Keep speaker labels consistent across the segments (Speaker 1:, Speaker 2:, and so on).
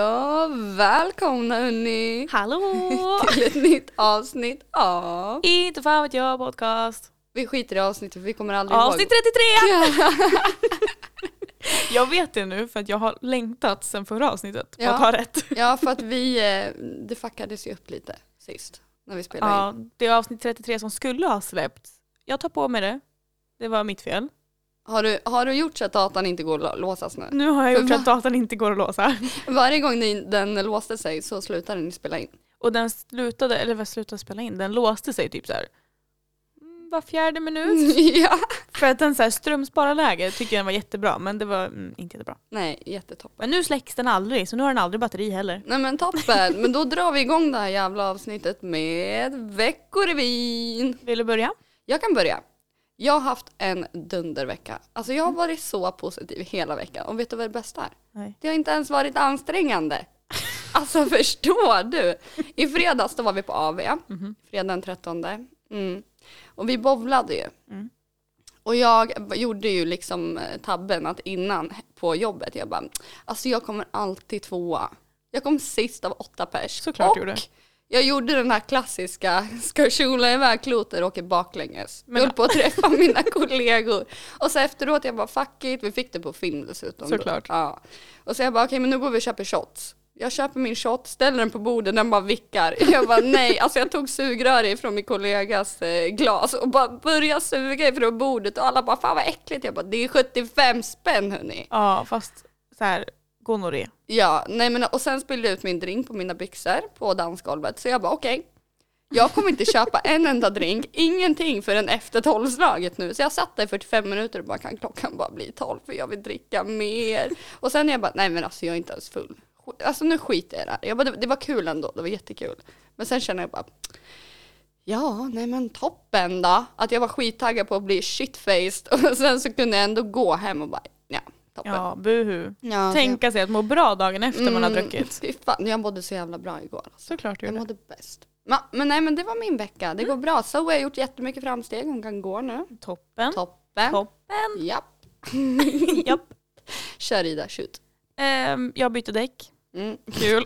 Speaker 1: och välkomna hörni
Speaker 2: Hallå!
Speaker 1: till ett nytt avsnitt av
Speaker 2: Inte fan vet jag podcast.
Speaker 1: Vi skiter i avsnittet för vi kommer aldrig
Speaker 2: Avsnitt
Speaker 1: ihåg.
Speaker 2: 33!
Speaker 1: Ja.
Speaker 2: Jag vet det nu för att jag har längtat sen förra avsnittet på
Speaker 1: Ja.
Speaker 2: att ha rätt.
Speaker 1: ja för att vi, eh, det fuckades ju upp lite sist när vi spelade
Speaker 2: Ja,
Speaker 1: in.
Speaker 2: det är avsnitt 33 som skulle ha släppts. Jag tar på mig det. Det var mitt fel.
Speaker 1: Har du, har du gjort så att datan inte går att låsas nu?
Speaker 2: Nu har jag gjort
Speaker 1: Va?
Speaker 2: att datan inte går att låsa.
Speaker 1: Varje gång den, den låste sig så slutade den spela in.
Speaker 2: Och den slutade, eller vad slutade spela in, den låste sig typ så här. mm, Var fjärde minut.
Speaker 1: ja.
Speaker 2: För att den så här strömspara läge tycker jag den var jättebra men det var mm, inte jättebra.
Speaker 1: Nej, jättetoppen.
Speaker 2: Men nu släcks den aldrig så nu har den aldrig batteri heller.
Speaker 1: Nej men toppen, men då drar vi igång det här jävla avsnittet med veckorevyn.
Speaker 2: Vill du börja?
Speaker 1: Jag kan börja. Jag har haft en dundervecka. Alltså jag har varit så positiv hela veckan. Och vet du vad det bästa är?
Speaker 2: Nej.
Speaker 1: Det har inte ens varit ansträngande. Alltså förstår du? I fredags då var vi på AV.
Speaker 2: Mhm.
Speaker 1: Fredagen den 13. Mm. Och vi bowlade ju.
Speaker 2: Mm.
Speaker 1: Och jag b- gjorde ju liksom eh, tabben att innan på jobbet, jag bara, alltså jag kommer alltid tvåa. Jag kom sist av åtta pers.
Speaker 2: Såklart
Speaker 1: och
Speaker 2: du gjorde.
Speaker 1: jag gjorde den här klassiska, ska kjola iväg kloter och åker baklänges.
Speaker 2: Men-
Speaker 1: jag höll på att träffa mina kollegor. Och så efteråt jag bara fuck it, vi fick det på film dessutom. då.
Speaker 2: Såklart.
Speaker 1: Ja. Och så jag bara okej men nu går vi och köper shots. Jag köper min shot, ställer den på bordet, den bara vickar. Jag bara nej, alltså jag tog sugrör ifrån min kollegas eh, glas och bara började suga ifrån bordet och alla bara fan vad äckligt. Jag bara det är 75 spänn hörni.
Speaker 2: Ja fast så här gonorré.
Speaker 1: Ja, nej men och sen spillde jag ut min drink på mina byxor på dansgolvet så jag bara okej. Jag kommer inte köpa en enda drink, ingenting förrän efter tolvslaget nu. Så jag satt där i 45 minuter och bara kan klockan bara bli tolv för jag vill dricka mer. Och sen är jag bara nej men alltså jag är inte ens full. Sk- Alltså nu skiter jag i det här. Jag bara, det, det var kul ändå, det var jättekul. Men sen känner jag bara Ja, nej men toppen då. Att jag var skittaggad på att bli shitfaced och sen så kunde jag ändå gå hem och bara ja, toppen.
Speaker 2: Ja buhu.
Speaker 1: Ja, så jag-
Speaker 2: Tänka sig att må bra dagen efter man har druckit.
Speaker 1: Mm, Fy fan, jag mådde så jävla bra igår. Alltså.
Speaker 2: Såklart du
Speaker 1: Jag
Speaker 2: gjorde.
Speaker 1: mådde bäst. Men, men nej men det var min vecka,
Speaker 2: Mm.
Speaker 1: det går bra. Så har jag gjort jättemycket framsteg, hon kan gå nu.
Speaker 2: Toppen.
Speaker 1: Toppen.
Speaker 2: Mm. Toppen.
Speaker 1: Japp.
Speaker 2: Japp.
Speaker 1: Kör Ida, shoot.
Speaker 2: Ehm, jag bytte däck.
Speaker 1: Mm.
Speaker 2: Kul.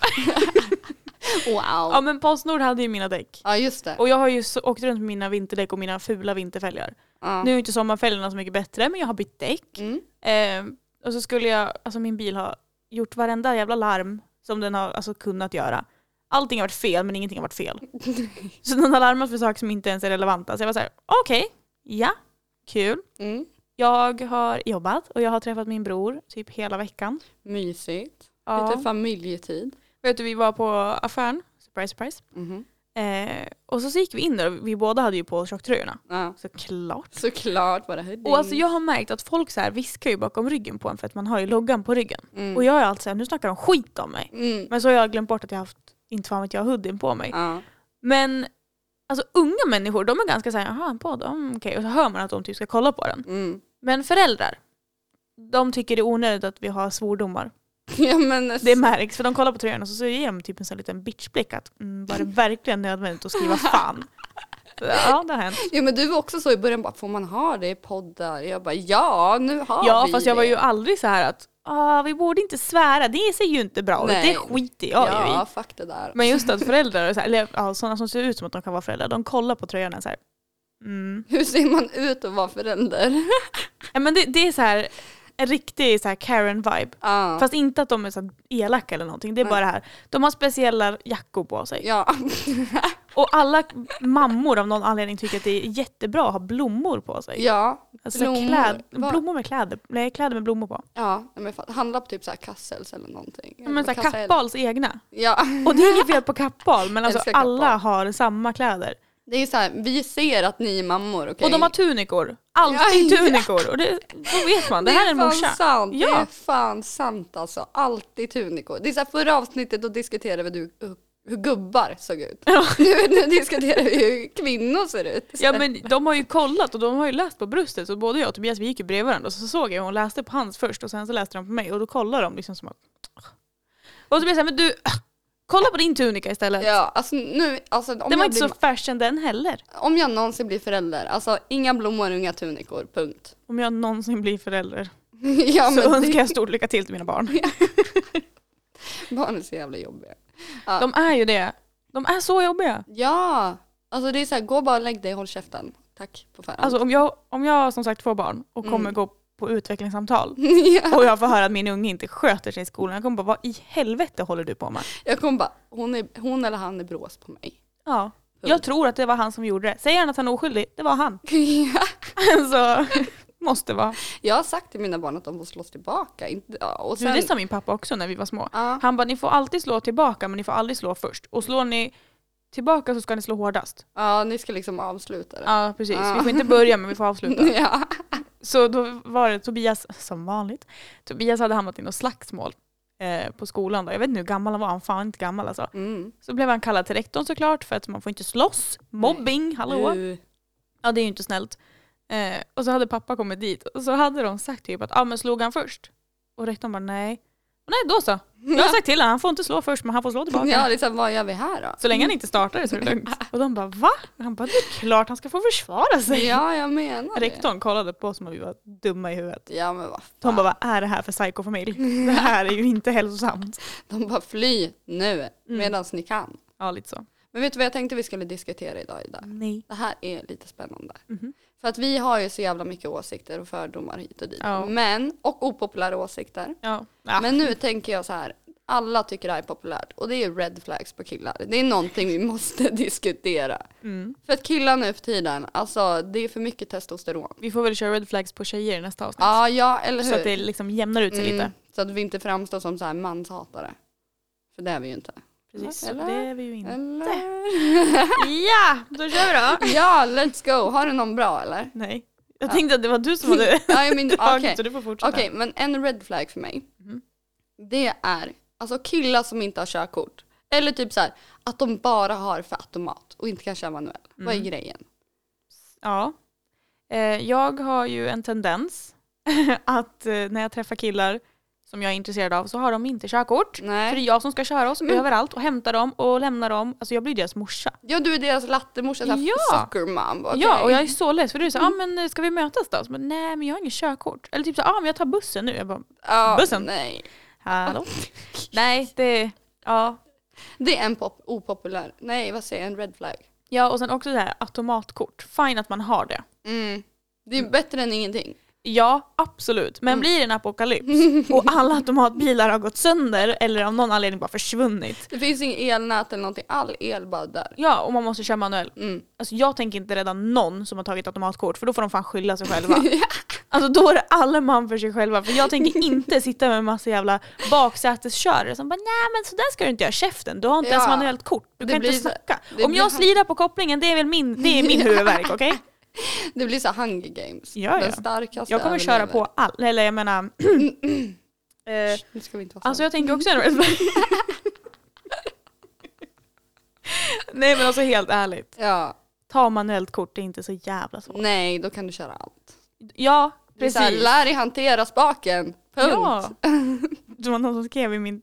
Speaker 2: ja
Speaker 1: Wow.
Speaker 2: men Postnord hade ju mina däck.
Speaker 1: Ja just det.
Speaker 2: Och jag har ju så, åkt runt med mina vinterdäck och mina fula vinterfälgar.
Speaker 1: Ja.
Speaker 2: Nu är ju inte sommarfälgarna så mycket bättre men jag har bytt däck.
Speaker 1: Mm.
Speaker 2: Ehm, och så skulle jag, alltså min bil har gjort varenda jävla larm som den har alltså, kunnat göra. Allting har varit fel men ingenting har varit fel. så den har larmat för saker som inte ens är relevanta. Så jag var såhär, okej, ja, kul.
Speaker 1: Mm.
Speaker 2: Jag har jobbat och jag har träffat min bror typ hela veckan.
Speaker 1: Mysigt. Lite
Speaker 2: Ja.
Speaker 1: familjetid.
Speaker 2: Vet du, vi var på affären, surprise surprise.
Speaker 1: Mhm.
Speaker 2: Eh, och så, så gick vi in där och vi båda hade ju på tjocktröjorna.
Speaker 1: Ja.
Speaker 2: Såklart.
Speaker 1: Såklart var det här
Speaker 2: Och alltså jag har märkt att folk så här viskar ju bakom ryggen på en för att man har ju loggan på ryggen.
Speaker 1: Mm.
Speaker 2: Och jag är alltid såhär, nu snackar de skit om mig.
Speaker 1: Mm.
Speaker 2: Men så har jag glömt bort att jag haft, inte fan vet jag, hoodien på mig.
Speaker 1: Ja.
Speaker 2: Men alltså unga människor, de är ganska såhär, jaha en podd, mm, okej. Och så hör man att de typ ska kolla på den.
Speaker 1: Mm.
Speaker 2: Men föräldrar, de tycker det är onödigt att vi har svordomar.
Speaker 1: ja men
Speaker 2: Det märks, för de kollar på tröjan och så, så ger de typ en sån här liten bitchblick att mm, var det verkligen nödvändigt att skriva fan? Så, ja, det har hänt.
Speaker 1: Ja men du var också så i början bara, får man ha det i poddar? Jag bara ja, nu har
Speaker 2: Ja,
Speaker 1: vi
Speaker 2: fast jag
Speaker 1: det.
Speaker 2: var ju aldrig så här att ah, vi borde inte svära, det ser ju inte bra ut,
Speaker 1: Nej.
Speaker 2: det skiter jag ju
Speaker 1: Ja,
Speaker 2: i.
Speaker 1: fuck det där.
Speaker 2: Men just att föräldrar, är så här, eller ja, sådana som ser ut som att de kan vara föräldrar, de kollar på tröjorna så här. Mm.
Speaker 1: Hur ser man ut att vara förälder?
Speaker 2: Ja, men det, det är så här en riktig så här Karen-vibe.
Speaker 1: Ja.
Speaker 2: Fast inte att de är så här elaka eller någonting, det är
Speaker 1: Nej.
Speaker 2: bara det här. De har speciella jackor på sig.
Speaker 1: Ja.
Speaker 2: Och alla mammor av någon anledning tycker att det är jättebra att ha blommor på sig.
Speaker 1: ja.
Speaker 2: Alltså blommor.
Speaker 1: blommor.
Speaker 2: Kläd,
Speaker 1: Va?
Speaker 2: blommor med kläder, nej kläder med blommor på.
Speaker 1: Ja, nej, men fatt- handla på typ så här Kassels eller någonting.
Speaker 2: Men så här,
Speaker 1: Kassel.
Speaker 2: Kappahls egna.
Speaker 1: Ja,
Speaker 2: Och det är inget fel på Kappahl men alltså
Speaker 1: Älskar Kappahl.
Speaker 2: alla har samma kläder.
Speaker 1: det är så här, vi ser att ni är mammor, okej?
Speaker 2: Och de har tunikor. Alltid
Speaker 1: Ja, ja.
Speaker 2: tunikor. Och det, då vet man, det här är en
Speaker 1: fan
Speaker 2: morsa.
Speaker 1: Sant. Det
Speaker 2: Ja.
Speaker 1: är fan sant alltså. Alltid tunikor. Det är så här, förra avsnittet då diskuterade vi du, hur, hur gubbar såg ut. Nu, nu diskuterar vi hur kvinnor ser ut.
Speaker 2: Ja men de har ju kollat och de har ju läst på bröstet så både jag och Tobias vi gick ju bredvid varandra och så såg jag hon läste på hans först och sen så läste de på mig och då kollade de liksom som att... Och Tobias sa men du, kolla på din tunika istället.
Speaker 1: Ja, alltså nu, alltså om
Speaker 2: den var
Speaker 1: jag
Speaker 2: inte
Speaker 1: blir
Speaker 2: så fashion den heller.
Speaker 1: Om jag någonsin blir förälder, alltså inga blommor, inga tunikor, punkt.
Speaker 2: Om jag någonsin blir förälder
Speaker 1: ja,
Speaker 2: så
Speaker 1: men,
Speaker 2: önskar
Speaker 1: det,
Speaker 2: jag stort lycka till till mina barn.
Speaker 1: Barn är så jävla jobbiga. Ja.
Speaker 2: De är ju det. De är så jobbiga.
Speaker 1: Ja, alltså det är så här, gå bara och lägg dig, håll käften. Tack på förhand.
Speaker 2: Alltså om jag, om jag som sagt får barn och
Speaker 1: Mm.
Speaker 2: kommer gå på utvecklingssamtal
Speaker 1: ja.
Speaker 2: och jag får höra att min unge inte sköter sig i skolan, jag kommer bara vad i helvete håller du på med?
Speaker 1: Jag kommer bara, hon, är, hon eller han är brås på mig.
Speaker 2: Ja. Jag tror att det var han som gjorde det. Säger han att han är oskyldig, det var han.
Speaker 1: Ja.
Speaker 2: Så måste vara.
Speaker 1: Jag har sagt till mina barn att de får slåss tillbaka. Inte- ja, Och
Speaker 2: Du,
Speaker 1: sen,
Speaker 2: Det sa min pappa också när vi var små.
Speaker 1: ja,
Speaker 2: Han bara, ni får alltid slå tillbaka men ni får aldrig slå först. Och slår ni tillbaka så ska ni slå hårdast.
Speaker 1: ja, ni ska liksom avsluta det.
Speaker 2: Ja precis,
Speaker 1: Ja.
Speaker 2: vi får inte börja men vi får avsluta.
Speaker 1: Ja.
Speaker 2: Så då var det Tobias, som vanligt, Tobias hade hamnat i något slagsmål eh, på skolan. Då. Jag vet inte hur gammal han var, han var fan inte gammal alltså.
Speaker 1: Mm.
Speaker 2: Så blev han kallad till rektorn såklart för att man får inte slåss. Mobbing, hallå!
Speaker 1: Uh.
Speaker 2: Ja det är ju inte snällt. Eh, och så hade pappa kommit dit och så hade de sagt typ att ah, men slog han först? Och rektorn bara nej. Nej då så. Jag har sagt till honom, han får inte slå först men han får slå tillbaka.
Speaker 1: Ja, liksom, vad gör vi här då?
Speaker 2: Så länge han inte startar det så är det lugnt. Och de bara va? Och han bara det är klart han ska få försvara sig.
Speaker 1: Ja, jag menar det.
Speaker 2: Rektorn kollade på oss som att vi var dumma i huvudet.
Speaker 1: Ja, men vad
Speaker 2: De
Speaker 1: fan.
Speaker 2: bara vad är det här för psykofamilj? Det här är ju inte hälsosamt.
Speaker 1: De bara fly
Speaker 2: Mm.
Speaker 1: nu medan ni kan.
Speaker 2: Ja lite så.
Speaker 1: Men vet du vad jag tänkte vi skulle diskutera idag Ida?
Speaker 2: Nej.
Speaker 1: Det här är lite spännande.
Speaker 2: Mhm.
Speaker 1: För att vi har ju så jävla mycket åsikter och fördomar hit och dit.
Speaker 2: Ja.
Speaker 1: Men, och opopulära åsikter.
Speaker 2: Ja. ja.
Speaker 1: Men nu tänker jag så här, alla tycker det här är populärt och det är ju red flags på killar. Det är någonting vi måste diskutera.
Speaker 2: Mm.
Speaker 1: För att killar nu för tiden, alltså det är för mycket testosteron.
Speaker 2: Vi får väl köra red flags på tjejer i nästa avsnitt.
Speaker 1: Ja, ja eller hur?
Speaker 2: så att det liksom jämnar ut sig lite.
Speaker 1: Mm, så att vi inte framstår som så här manshatare. För det är vi ju inte.
Speaker 2: Precis, så
Speaker 1: Eller?
Speaker 2: det är vi ju inte.
Speaker 1: Eller?
Speaker 2: Ja, då kör vi då.
Speaker 1: ja, let's go. Har du någon bra eller?
Speaker 2: Nej, jag tänkte att det var du som hade
Speaker 1: Ja, jag men,
Speaker 2: dragit
Speaker 1: okej.
Speaker 2: så du får fortsätta.
Speaker 1: Okej, men en red flag för mig.
Speaker 2: Mhm.
Speaker 1: Det är alltså killar som inte har körkort. Eller typ så här, att de bara har för automat och inte kan köra manuell. Vad är
Speaker 2: Mm.
Speaker 1: grejen?
Speaker 2: Ja. Eh, Jag har ju en tendens att eh, när jag träffar killar som jag är intresserad av så har de inte körkort. För det är
Speaker 1: Nej.
Speaker 2: jag som ska köra oss
Speaker 1: Mm.
Speaker 2: överallt och hämta dem och lämna dem. Alltså jag blir deras morsa.
Speaker 1: Ja, du är deras lattemorsa, så här
Speaker 2: Ja.
Speaker 1: soccer mom. Okej.
Speaker 2: Ja, och jag är så less för du säger, ah, men ska vi mötas då? Så bara, Nej, men jag har inget körkort. Eller typ så, ah, men jag tar bussen nu. Jag bara,
Speaker 1: Ja,
Speaker 2: bussen.
Speaker 1: Nej.
Speaker 2: hallå? Nej, det, ja.
Speaker 1: Det är en pop- opopulär, nej vad säger jag, en red flag.
Speaker 2: Ja, och sen också det här automatkort. Fine att man har det.
Speaker 1: Mm. Det är bättre än ingenting.
Speaker 2: Ja, absolut.
Speaker 1: Mm.
Speaker 2: Men blir det en apokalyps och alla automatbilar har gått sönder eller av någon anledning bara försvunnit.
Speaker 1: Det finns inget elnät eller någonting, all el bara där.
Speaker 2: Ja, och man måste köra manuell.
Speaker 1: Mm.
Speaker 2: Alltså jag tänker inte rädda någon som har tagit automatkort för då får de fan skylla sig själva. Alltså då är det alla man för sig själva. För jag tänker inte sitta med en massa jävla baksäteskörare som bara nej men sådär ska du inte göra käften. Du har inte
Speaker 1: Ja.
Speaker 2: ens manuellt kort. Du
Speaker 1: Det
Speaker 2: kan
Speaker 1: blir
Speaker 2: inte
Speaker 1: så-
Speaker 2: snacka.
Speaker 1: det
Speaker 2: Om
Speaker 1: blir
Speaker 2: jag
Speaker 1: han-
Speaker 2: slirar på kopplingen det är väl min, det är min huvudvärk, okej?
Speaker 1: Det blir så här hunger games.
Speaker 2: Ja,
Speaker 1: Den
Speaker 2: ja.
Speaker 1: starkaste
Speaker 2: Jag kommer köra
Speaker 1: överlever.
Speaker 2: på all, eller jag menar... eh,
Speaker 1: Nu ska vi inte vara så.
Speaker 2: Alltså jag tänker också en red flag. Nej men alltså helt ärligt.
Speaker 1: ja.
Speaker 2: Ta manuellt kort, det är inte så jävla svårt.
Speaker 1: Nej, då kan du köra allt.
Speaker 2: Ja,
Speaker 1: Precis. Så här,
Speaker 2: precis.
Speaker 1: lär dig hantera spaken. Punkt.
Speaker 2: Ja. Det var någon som skrev i min,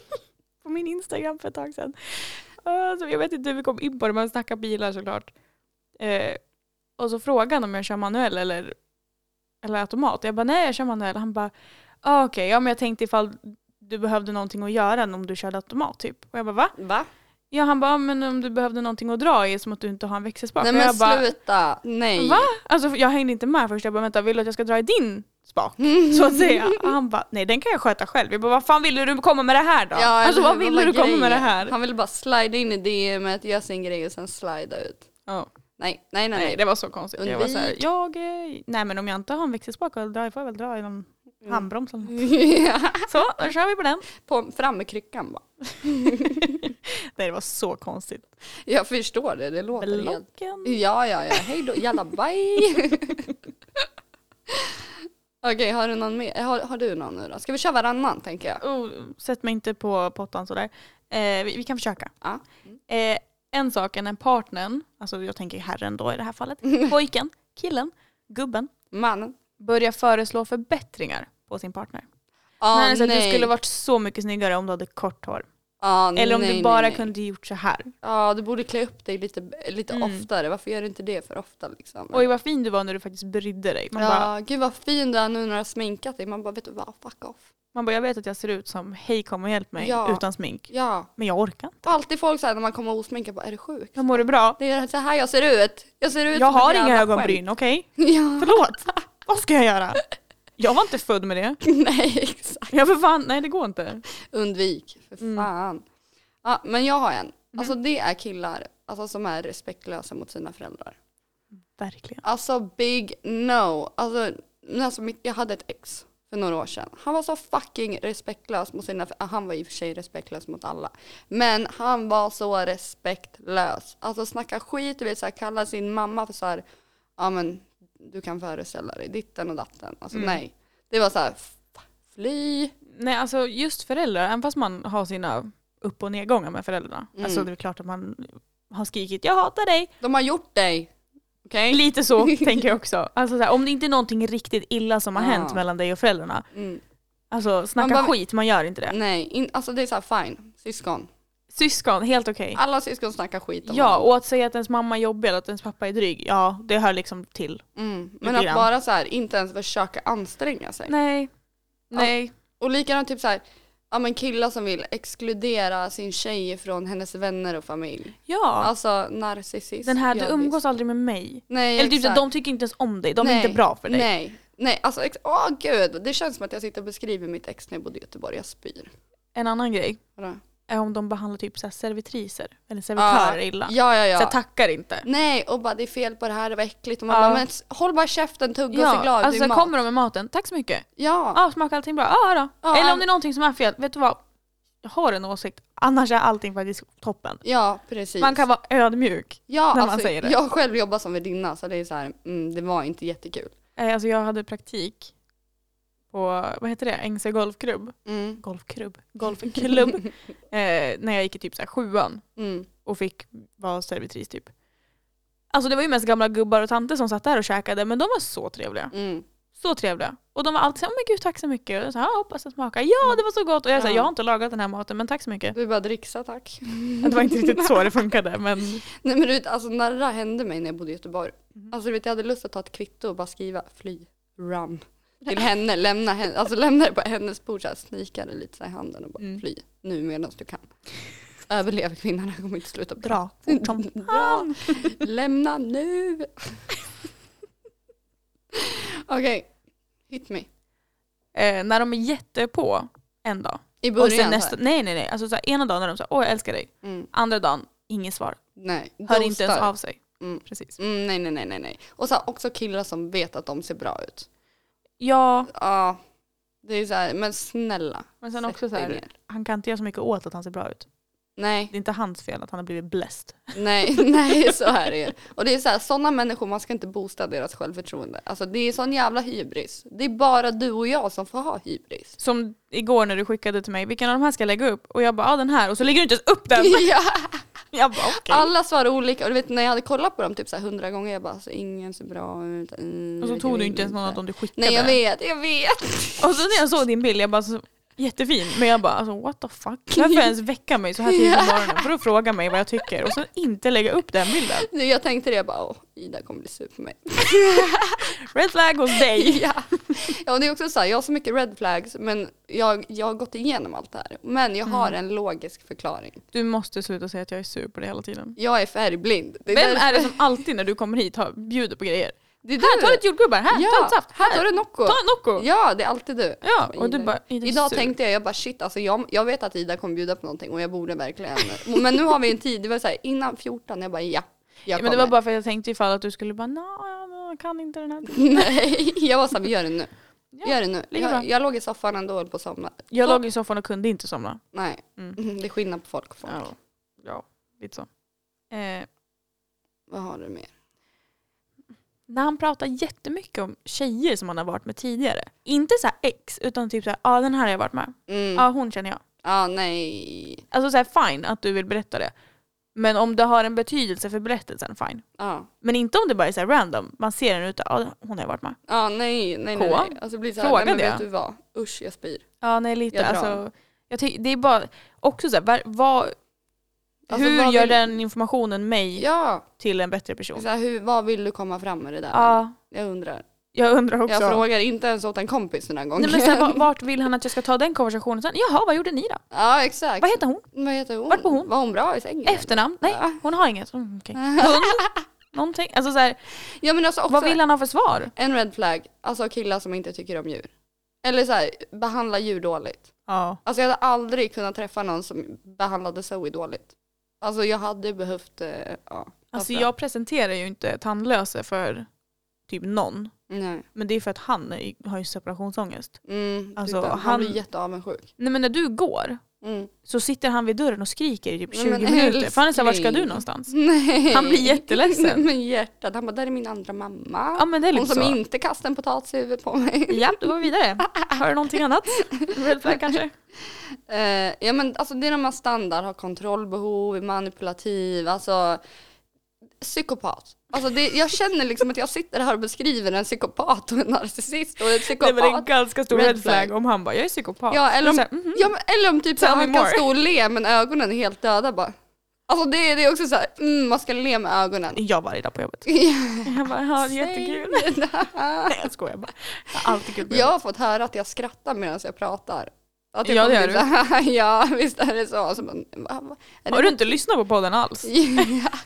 Speaker 2: på min Instagram för ett tag sedan. Alltså, jag vet inte hur vi kom in på det, men snacka bilar såklart. Eh, och så frågade han om jag kör manuell eller, eller automat. Jag bara nej jag kör manuell. Han bara ah, okej, ja men jag tänkte ifall du behövde någonting att göra än om du körde automat typ. Och jag bara va?
Speaker 1: Va?
Speaker 2: Ja han bara, "Ah, men om du behövde någonting att dra i som att du inte har en växelspak.
Speaker 1: Nej
Speaker 2: Och jag
Speaker 1: men
Speaker 2: bara,
Speaker 1: sluta. Nej.
Speaker 2: Va? Alltså jag hängde inte med först. Jag bara, vänta vill du att jag ska dra i din spak? Så att säga. Och han bara, nej den kan jag sköta själv. Jag bara, vad fan ville du komma med det här då?
Speaker 1: Ja,
Speaker 2: alltså
Speaker 1: eller
Speaker 2: vad
Speaker 1: hur?
Speaker 2: ville
Speaker 1: var
Speaker 2: du komma
Speaker 1: grejen?
Speaker 2: med det här?
Speaker 1: Han ville bara slida in i DMet, göra sin grej och sen slida ut.
Speaker 2: Ja.
Speaker 1: Nej, nej, nej.
Speaker 2: Nej det var så konstigt. Jag var
Speaker 1: Undvik.
Speaker 2: så här, jag, eh, nej men om jag inte har en växelspak att dra i får jag väl dra i någon
Speaker 1: Mm.
Speaker 2: handbroms eller något.
Speaker 1: nej. Ja.
Speaker 2: Så, då kör vi på den.
Speaker 1: på, fram med kryckan bara.
Speaker 2: Nej det var så konstigt.
Speaker 1: Jag förstår det, det låter helt...
Speaker 2: Blocken.
Speaker 1: Ja, ja, ja. Hej då, jalla bye. Okej, har du någon mer? Har, har du någon nu då? Ska vi köra varannan tänker jag?
Speaker 2: Oh, sätt mig inte på pottan sådär. Eh, vi, vi kan försöka.
Speaker 1: Ja.
Speaker 2: Eh, en sak är när partnern, alltså jag tänker herren då i det här fallet, pojken, killen, gubben,
Speaker 1: Mannen?
Speaker 2: börjar föreslå förbättringar på sin partner.
Speaker 1: Ah,
Speaker 2: nej, så att du skulle varit så mycket snyggare om du hade kort hår.
Speaker 1: Ja,
Speaker 2: Eller om
Speaker 1: Ah, Mm, nej,
Speaker 2: du bara
Speaker 1: nej, nej.
Speaker 2: kunde gjort så här.
Speaker 1: Ja, du borde klä upp dig lite, lite
Speaker 2: Mm.
Speaker 1: oftare. Varför gör du inte det för ofta liksom?
Speaker 2: Oj vad fin du var när du faktiskt brydde dig. Man,
Speaker 1: ja,
Speaker 2: bara,
Speaker 1: gud vad fin du är nu när du har sminkat dig. Man bara, vet du vad, fuck off.
Speaker 2: man bara, jag vet att jag ser ut som hej kom och hjälp mig
Speaker 1: Ja.
Speaker 2: utan smink.
Speaker 1: Ja.
Speaker 2: Men jag orkar inte.
Speaker 1: Och alltid folk säger när man kommer osminkad, bara, är du sjuk?
Speaker 2: Jag mår du bra?
Speaker 1: Det är så här jag ser ut. Jag ser ut
Speaker 2: Jag
Speaker 1: som ett
Speaker 2: har inga
Speaker 1: jävla
Speaker 2: ögonbryn, okej?
Speaker 1: skämt. Ja,
Speaker 2: Förlåt! vad ska jag göra? Jag var inte född med det.
Speaker 1: nej exakt.
Speaker 2: Jag för fan, nej det går inte.
Speaker 1: Undvik, för
Speaker 2: Mm. Mhm.
Speaker 1: fan. Ja, men jag har en. Alltså det är killar alltså, som är respektlösa mot sina föräldrar.
Speaker 2: Verkligen.
Speaker 1: Alltså big no. Alltså, men alltså, mitt- jag hade ett ex för några år sedan. Han var så fucking respektlös mot sina, ah, han var i och för sig respektlös mot alla. Men han var så respektlös. Alltså snacka skit, du vet så här, kalla sin mamma för så här, ja men du kan föreställa dig ditten och datten. Alltså
Speaker 2: Mm.
Speaker 1: nej. Det var så här, f- fly.
Speaker 2: Nej alltså just föräldrar, även fast man har sina upp och nedgångar med föräldrarna.
Speaker 1: Mm.
Speaker 2: Alltså det är klart att man har skrikit jag hatar dig.
Speaker 1: De har gjort dig. Okej?
Speaker 2: Lite så tänker jag också. Alltså så här, om det inte är någonting riktigt illa som har
Speaker 1: Ja.
Speaker 2: hänt mellan dig och föräldrarna.
Speaker 1: Mm.
Speaker 2: Alltså snacka
Speaker 1: bara-
Speaker 2: skit, man gör inte det.
Speaker 1: Nej, in, alltså det är så här fine. Syskon.
Speaker 2: Syskon, helt okej.
Speaker 1: Alla syskon snackar skit om
Speaker 2: Ja,
Speaker 1: varandra.
Speaker 2: och att säga att ens mamma är jobbig eller att ens pappa är dryg, ja det hör liksom till.
Speaker 1: Mm. Men
Speaker 2: Lite
Speaker 1: att
Speaker 2: grann.
Speaker 1: bara så här, inte ens försöka anstränga sig.
Speaker 2: Nej. Nej.
Speaker 1: Och likadant typ så här, ja men killar som vill exkludera sin tjej från hennes vänner och familj.
Speaker 2: Ja.
Speaker 1: Alltså narcissist.
Speaker 2: Den här, du
Speaker 1: ja,
Speaker 2: umgås aldrig med mig.
Speaker 1: visst. Nej,
Speaker 2: Eller typ
Speaker 1: exakt.
Speaker 2: att de tycker inte ens om dig, de är
Speaker 1: Nej,
Speaker 2: inte bra för dig.
Speaker 1: Nej, nej alltså ex- åh gud. Det känns som att jag sitter och beskriver mitt ex när jag bodde i Göteborg, jag spyr.
Speaker 2: En annan grej
Speaker 1: Vadå?
Speaker 2: är om de behandlar typ så här servitriser eller servitörer illa.
Speaker 1: Ja, ja,
Speaker 2: Så här,
Speaker 1: ja.
Speaker 2: tackar inte.
Speaker 1: nej, och bara det är fel på det här, det var äckligt. Och man
Speaker 2: Ja.
Speaker 1: bara, men s- håll bara käften, tugga och se glad
Speaker 2: alltså
Speaker 1: det är
Speaker 2: sen
Speaker 1: mat.
Speaker 2: kommer de med maten, tack så mycket.
Speaker 1: Ja,
Speaker 2: Ja, smakar allting bra? Ja då.
Speaker 1: Ja,
Speaker 2: eller om
Speaker 1: all-
Speaker 2: det är någonting som är fel, vet du vad? Jag har en åsikt, annars är allting faktiskt toppen.
Speaker 1: ja precis.
Speaker 2: Man kan vara ödmjuk.
Speaker 1: ja,
Speaker 2: när man
Speaker 1: alltså,
Speaker 2: säger det.
Speaker 1: Jag har själv jobbat som värdinna så det är så här, mm, det var inte jättekul.
Speaker 2: Eh, Alltså jag hade praktik på, vad heter det, Ängsö golfklubb.
Speaker 1: Mm,
Speaker 2: Golfklubb? Golfklubb. eh, när jag gick i typ så här sjuan.
Speaker 1: mm.
Speaker 2: och fick vara servitris typ. Alltså det var ju mest gamla gubbar och tanter som satt där och käkade men de var så trevliga.
Speaker 1: Mm.
Speaker 2: Så trevliga. Och de var alltid såhär, oh, men gud tack så mycket. Och jag sa, ja hoppas det smakar. Ja det var så gott. Och jag sa,
Speaker 1: Mm. Ja.
Speaker 2: jag har inte lagat den här maten men tack så mycket.
Speaker 1: Du bara dricksa tack.
Speaker 2: Det var inte riktigt så det funkade men
Speaker 1: Nej men du vet, alltså när det där hände mig när jag bodde i Göteborg.
Speaker 2: Mm.
Speaker 1: Alltså du vet jag hade lust att ta ett kvitto och bara skriva fly, run. Till henne, lämna henne, alltså lämna det på hennes bord såhär, snika det lite så här i handen och bara
Speaker 2: Mm.
Speaker 1: fly nu medan du kan. Överlev kvinnan, jag kommer inte sluta prata.
Speaker 2: bra. Fort som
Speaker 1: Bra. Lämna nu. Okej, hit me.
Speaker 2: eh, När de är jättepå en dag.
Speaker 1: I
Speaker 2: Och
Speaker 1: början
Speaker 2: sen
Speaker 1: så
Speaker 2: nästa,
Speaker 1: här.
Speaker 2: nej nej nej. Alltså så här, ena dagen när de säger, åh jag älskar dig.
Speaker 1: Mm,
Speaker 2: Andra dagen, inget svar.
Speaker 1: nej,
Speaker 2: Hör inte ens
Speaker 1: ghostar.
Speaker 2: av sig.
Speaker 1: Mm.
Speaker 2: Precis.
Speaker 1: Mm, nej, nej, nej, nej, nej. Och så här, också killar som vet att de ser bra ut.
Speaker 2: Ja,
Speaker 1: Ja, det är så här, men snälla.
Speaker 2: men sen
Speaker 1: sätt
Speaker 2: också så
Speaker 1: dig
Speaker 2: här,
Speaker 1: ner.
Speaker 2: han kan inte göra så mycket åt att han ser bra ut.
Speaker 1: Nej,
Speaker 2: Det är inte hans fel att han har blivit blessed.
Speaker 1: nej, nej, så här är det. Och det är så här, sådana människor, man ska inte boosta deras självförtroende. Alltså det är sån jävla hybris. Det är bara du och jag som får ha hybris.
Speaker 2: Som igår när du skickade till mig, vilken av de här ska jag lägga upp? Och jag bara, ja den här. Och så lägger du inte ens upp den!
Speaker 1: Ja,
Speaker 2: Jag bara, okej.
Speaker 1: alla svarar olika och du vet när jag hade kollat på dem typ så här hundra gånger jag bara alltså ingen ser bra ut. Mm,
Speaker 2: Och så tog du inte ens någon av dem du skickade.
Speaker 1: Nej jag vet, jag vet.
Speaker 2: Och så när jag såg din bild, jag bara, så, jättefin. Men jag bara, alltså, what the fuck? Varför ens väcka mig så här tidigt på morgonen för att fråga mig vad jag tycker och så inte lägga upp den bilden?
Speaker 1: Nu, Jag tänkte det, jag bara åh, Ida kommer bli sur på mig.
Speaker 2: Red flag hos dig!
Speaker 1: Ja. ja, och det är också så här, jag har så mycket red flags men jag, jag har gått igenom allt det här. Men jag har
Speaker 2: Mm.
Speaker 1: en logisk förklaring.
Speaker 2: Du måste sluta säga att jag är sur på det hela tiden.
Speaker 1: Jag är färgblind. Det
Speaker 2: Vem
Speaker 1: därför-
Speaker 2: är det som alltid när du kommer hit har, bjuder på grejer?
Speaker 1: Det är
Speaker 2: Här,
Speaker 1: du.
Speaker 2: ta lite jordgubbar, här, ta
Speaker 1: ja,
Speaker 2: lite saft,
Speaker 1: här tar
Speaker 2: här,
Speaker 1: du Nocco.
Speaker 2: ta en Nocco!
Speaker 1: Ja, det är alltid du.
Speaker 2: Ja, och
Speaker 1: Ida.
Speaker 2: du bara, Ida är
Speaker 1: Idag
Speaker 2: sur.
Speaker 1: tänkte jag, jag bara shit alltså jag, jag vet att Ida kommer bjuda på någonting och jag borde verkligen. Men nu har vi en tid, det var så här, innan 14, jag bara ja. Jag
Speaker 2: Ja, men det var
Speaker 1: kommer.
Speaker 2: bara för att jag tänkte ifall att du skulle bara nej, jag kan inte den här.
Speaker 1: Nej, jag var såhär, vi gör det nu.
Speaker 2: Ja,
Speaker 1: gör det nu.
Speaker 2: lika bra.
Speaker 1: Jag, jag låg i soffan ändå och höll på att somna.
Speaker 2: Jag låg i soffan och kunde inte somna.
Speaker 1: Nej,
Speaker 2: Mm.
Speaker 1: det är skillnad på folk och folk.
Speaker 2: Ja, ja lite så. Eh,
Speaker 1: Vad har du mer?
Speaker 2: när han pratar jättemycket om tjejer som han har varit med tidigare. Inte så här ex, utan typ så här, ja ah, den här har jag varit med.
Speaker 1: Mm.
Speaker 2: Ja, ah, hon känner jag.
Speaker 1: Ja, nej.
Speaker 2: Alltså så här, fine att du vill berätta det. Men om det har en betydelse för berättelsen, fine.
Speaker 1: Ja,
Speaker 2: Men inte om det bara är så här random. Man ser den ute, ja ah, hon har jag varit med.
Speaker 1: ja nej, nej, nej.
Speaker 2: K.
Speaker 1: nej. Alltså, det blir så här,
Speaker 2: Fråga
Speaker 1: nej, men
Speaker 2: det.
Speaker 1: vet du vad? Usch, jag spyr.
Speaker 2: Ja, nej lite.
Speaker 1: Jag drar.
Speaker 2: alltså, Jag ty- det är bara också så här, var, vad-
Speaker 1: Alltså,
Speaker 2: hur
Speaker 1: vad
Speaker 2: gör
Speaker 1: vill-
Speaker 2: den informationen mig
Speaker 1: Ja,
Speaker 2: till en bättre person?
Speaker 1: så här, hur, vad vill du komma fram med det där?
Speaker 2: Ja,
Speaker 1: Jag undrar.
Speaker 2: jag undrar också.
Speaker 1: Jag frågar inte ens åt en kompis den här gången.
Speaker 2: Nej, men så här, va- vart vill han att jag ska ta den konversationen sen? Jaha, vad gjorde ni då?
Speaker 1: ja exakt.
Speaker 2: Vad heter hon?
Speaker 1: Vad heter hon?
Speaker 2: Vart bor hon?
Speaker 1: Var hon bra i sängen?
Speaker 2: Efternamn? Nej,
Speaker 1: Ja.
Speaker 2: hon har inget. Mm, okej. Hund? Någonting. Alltså så här,
Speaker 1: Ja men alltså också
Speaker 2: vad vill han ha för svar?
Speaker 1: en red flag, alltså killar som inte tycker om djur. Eller så här, behandla djur dåligt.
Speaker 2: Ja.
Speaker 1: Alltså jag hade aldrig kunnat träffa någon som behandlade Zoe dåligt. Alltså jag hade behövt, eh, ja. Varför?
Speaker 2: Alltså jag presenterar ju inte tandlöse för typ någon.
Speaker 1: Nej.
Speaker 2: Men det är för att han är, har ju separationsångest.
Speaker 1: Mm,
Speaker 2: Alltså,
Speaker 1: alltså, han,
Speaker 2: han-
Speaker 1: blir jätteavundsjuk.
Speaker 2: Nej men när du går
Speaker 1: Mm.
Speaker 2: så sitter han vid dörren och skriker i typ
Speaker 1: Nej,
Speaker 2: 20
Speaker 1: men
Speaker 2: minuter. För han är såhär, vart ska du
Speaker 1: älskling." Mm.
Speaker 2: någonstans?
Speaker 1: Nej.
Speaker 2: Han blir jätteledsen.
Speaker 1: Men hjärtat, han bara där är min andra mamma.
Speaker 2: Ja men det är
Speaker 1: Hon
Speaker 2: lite
Speaker 1: som
Speaker 2: så.
Speaker 1: inte kastade en potatis i huvudet på mig.
Speaker 2: Ja, då går vi vidare. Har du någonting annat? Red flag kanske?
Speaker 1: Eh, ja men alltså det är de här standard, har kontrollbehov, är manipulativ, alltså psykopat. Alltså det, jag känner liksom att jag sitter här och beskriver en psykopat och en narcissist och en
Speaker 2: Nej, men det är en
Speaker 1: psykopat.
Speaker 2: ganska stor
Speaker 1: Red
Speaker 2: red flag
Speaker 1: flag.
Speaker 2: om han bara, jag är psykopat.
Speaker 1: Ja eller om,
Speaker 2: Så här, mhm.
Speaker 1: ja, men, eller om typ så här,
Speaker 2: Tell me
Speaker 1: han kan
Speaker 2: more.
Speaker 1: stå och le men ögonen är helt döda bara. Alltså det, det är också så här, mm, man ska le med ögonen.
Speaker 2: "Mm, Jag varje dag på jobbet. Jag bara, ja, jättekul. Nej jag skojar bara. Jag har alltid kul på
Speaker 1: Jag
Speaker 2: jobbet.
Speaker 1: har fått höra att jag skrattar medan jag pratar. Att
Speaker 2: Ja,
Speaker 1: kommer
Speaker 2: det
Speaker 1: typ så här, ja, visst är det så. Alltså, men, va, va, är det
Speaker 2: Har du inte lyssnat på podden alls?
Speaker 1: Ja.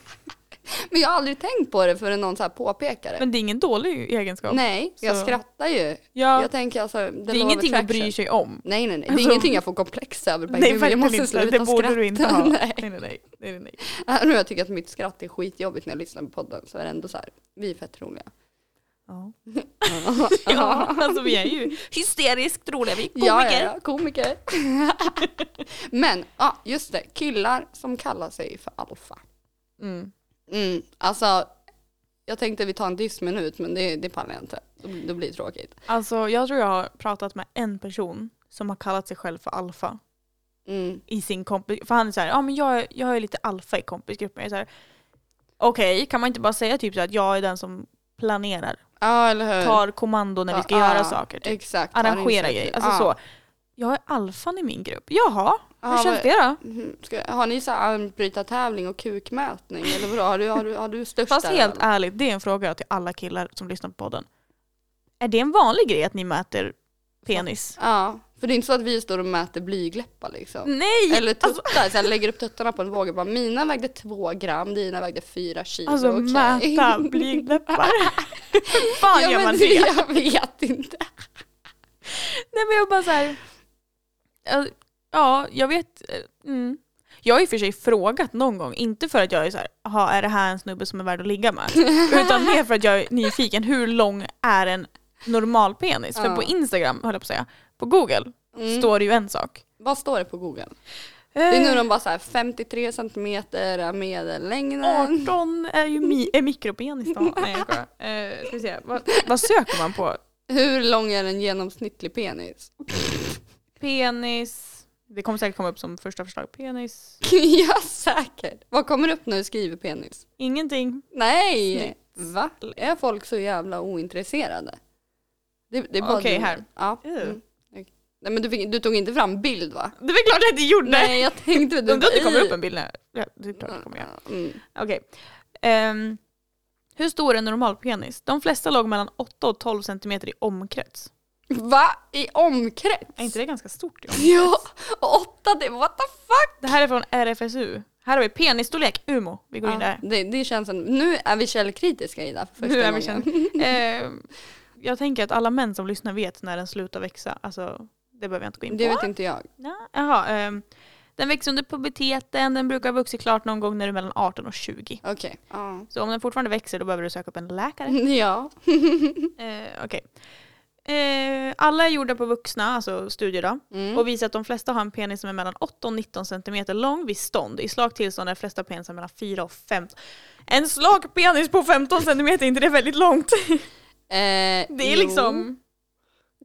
Speaker 1: Men jag har aldrig tänkt på det förrän någon så här påpekar det.
Speaker 2: Men det är ingen dålig egenskap.
Speaker 1: Nej, jag
Speaker 2: Så-
Speaker 1: skrattar ju.
Speaker 2: Ja,
Speaker 1: Jag tänker alltså, det,
Speaker 2: det är ingenting att bry sig om.
Speaker 1: Nej nej nej, det är
Speaker 2: Alltså-
Speaker 1: ingenting jag får komplex över. Bara, gud, jag måste sluta
Speaker 2: Det borde
Speaker 1: skratta.
Speaker 2: du inte ha. Nej.
Speaker 1: nej.
Speaker 2: Nej, nej, nej, nej, nej.
Speaker 1: Även om Äh, jag tycker att mitt skratt är skitjobbigt när jag lyssnar på podden så är det ändå så här, vi är fett roliga.
Speaker 2: Ja.
Speaker 1: ja,
Speaker 2: ja, alltså vi är ju hysteriskt roliga, vi är komiker.
Speaker 1: ja, ja, komiker. Men, ja just det, killar som kallar sig för alfa.
Speaker 2: Mm.
Speaker 1: Mm, alltså, jag tänkte vi tar en dissminut men det, det pallar jag inte. Det- Det blir tråkigt.
Speaker 2: Alltså jag tror jag har pratat med en person som har kallat sig själv för alfa
Speaker 1: Mm.
Speaker 2: i sin kompis, för han är såhär, ja men jag är, jag är lite alfa i kompisgruppen. Jag är såhär, okej kan man inte bara säga typ så här att jag är den som planerar,
Speaker 1: Ja eller hur.
Speaker 2: tar kommando när vi ska
Speaker 1: Ja,
Speaker 2: göra
Speaker 1: ja,
Speaker 2: saker, typ.
Speaker 1: Exakt.
Speaker 2: arrangera grejer, alltså så. Jag är alfan i min grupp, jaha, hur
Speaker 1: Ja,
Speaker 2: känns
Speaker 1: vad-
Speaker 2: det då?
Speaker 1: Mhm. Ska, har ni så här armbrytartävling och kukmätning eller vadå? Har du, har du, har du största?
Speaker 2: Fast helt
Speaker 1: eller?
Speaker 2: ärligt, det är en fråga till alla killar som lyssnar på podden. Är det en vanlig grej att ni mäter penis?
Speaker 1: Ja, för det är inte så att vi står och mäter blygläppar liksom.
Speaker 2: Nej!
Speaker 1: Eller tuttar, så här, lägger upp tuttarna på en våg och bara mina vägde två gram, dina vägde fyra kilo.
Speaker 2: Alltså
Speaker 1: okej.
Speaker 2: mäta blygdläppar. Hur fan
Speaker 1: ja,
Speaker 2: gör
Speaker 1: men
Speaker 2: man det?
Speaker 1: Jag vet inte.
Speaker 2: Nej men jag bara såhär, ja jag vet. eh, Mm. Jag har i och för sig frågat någon gång, inte för att jag är såhär, jaha är det här en snubbe som är värd att ligga med? Utan mer för att jag är nyfiken, hur lång är en normal penis? För
Speaker 1: Ja.
Speaker 2: på Instagram, höll jag på att säga, på Google
Speaker 1: Mm.
Speaker 2: står det ju en sak.
Speaker 1: Vad står det på google? Det är nu de bara så här 53 centimeter är medellängden.
Speaker 2: 18 Eh, är ju mi- är mikropenis då. Nej jag skojar. Eh, ska vi se. Vad, vad söker man på?
Speaker 1: Hur lång är en genomsnittlig penis?
Speaker 2: Penis. Det kommer säkert komma upp som första förslag. Penis.
Speaker 1: ja säkert. Vad kommer upp när du skriver penis?
Speaker 2: Ingenting.
Speaker 1: Nej! Va? Är folk så jävla ointresserade? Det, det är bara
Speaker 2: Okej,
Speaker 1: du.
Speaker 2: här.
Speaker 1: Ja.
Speaker 2: Ew.
Speaker 1: Mm. Okej. Nej men du, fick, du tog inte fram bild va?
Speaker 2: Det är väl klart jag inte gjorde.
Speaker 1: Nej jag tänkte typ
Speaker 2: Undrar om det kommer upp en bild nu. Ja, det är klart det kommer jag.
Speaker 1: Mm.
Speaker 2: Okej. Ehm, hur stor är en normal penis? De flesta låg mellan 8 och 12 centimeter i omkrets.
Speaker 1: Va? I omkrets?
Speaker 2: Är inte det ganska stort? i omkrets?
Speaker 1: Ja! och Åtta det, what the fuck?
Speaker 2: Det här är från RFSU. Här har vi penisstorlek, Umo. Vi går in där.
Speaker 1: det, det känns som, nu är vi källkritiska Ida för första
Speaker 2: Nu är vi
Speaker 1: gången.
Speaker 2: kända. eh, jag tänker att alla män som lyssnar vet när den slutar växa. Alltså, det typ- behöver jag inte gå in på.
Speaker 1: Det vet inte jag.
Speaker 2: Ja, Jaha, ehm, den växer under puberteten, den brukar ha vuxit klart någon gång när du är mellan 18 och 20.
Speaker 1: Okej. Ja.
Speaker 2: Så om den fortfarande växer då behöver du söka upp en läkare.
Speaker 1: Ja.
Speaker 2: Eh, okej. eh, alla är gjorda på vuxna, alltså studier då,
Speaker 1: Mm.
Speaker 2: och visar att de flesta har en penis som är mellan 8 och 19 centimeter lång vid stånd. I slakt tillstånd är de flesta penisar mellan 4 och 15. En slak penis på 15 centimeter, är inte det väldigt långt?
Speaker 1: Eh,
Speaker 2: Det är
Speaker 1: jo.
Speaker 2: liksom...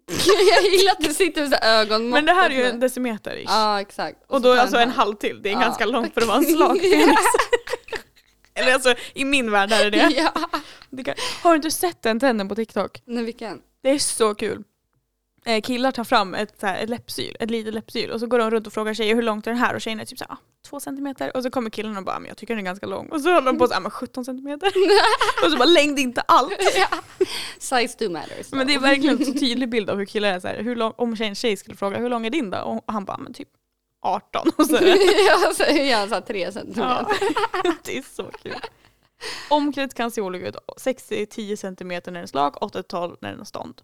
Speaker 1: jag gillar att du sitter med så här ögonmått.
Speaker 2: Men det här är ju
Speaker 1: och-
Speaker 2: en decimeter ish.
Speaker 1: Ja exakt.
Speaker 2: och
Speaker 1: så
Speaker 2: då
Speaker 1: tar
Speaker 2: är alltså en
Speaker 1: halv.
Speaker 2: halv till, det är
Speaker 1: Ja.
Speaker 2: ganska långt för att vara en slak penis. Eller alltså i min värld är det det.
Speaker 1: Ja.
Speaker 2: det kan... Har du inte sett den trenden på TikTok?
Speaker 1: Nej vilken?
Speaker 2: Det är så kul. eh, killar tar fram ett, så här, ett läppsyl, ett litet läppsyl och så går de runt och frågar tjejer hur långt är den här och tjejerna är typ såhär ah, två centimeter och så kommer killen och bara "Ah, men jag tycker den är ganska lång och så håller de på såhär men 17 centimeter och så bara längd är inte allt.
Speaker 1: Size do matters.
Speaker 2: Men det är verkligen en så tydlig bild av hur killar är såhär, hur lång, om en tjej skulle fråga hur lång är din då? Och han bara men typ 18 och så är det
Speaker 1: ja, så är han såhär tre centimeter.
Speaker 2: Ja. det är så kul. Omklädet kan se olika ut. 60-10 cm när den är slak, 8-12 när den är stånd.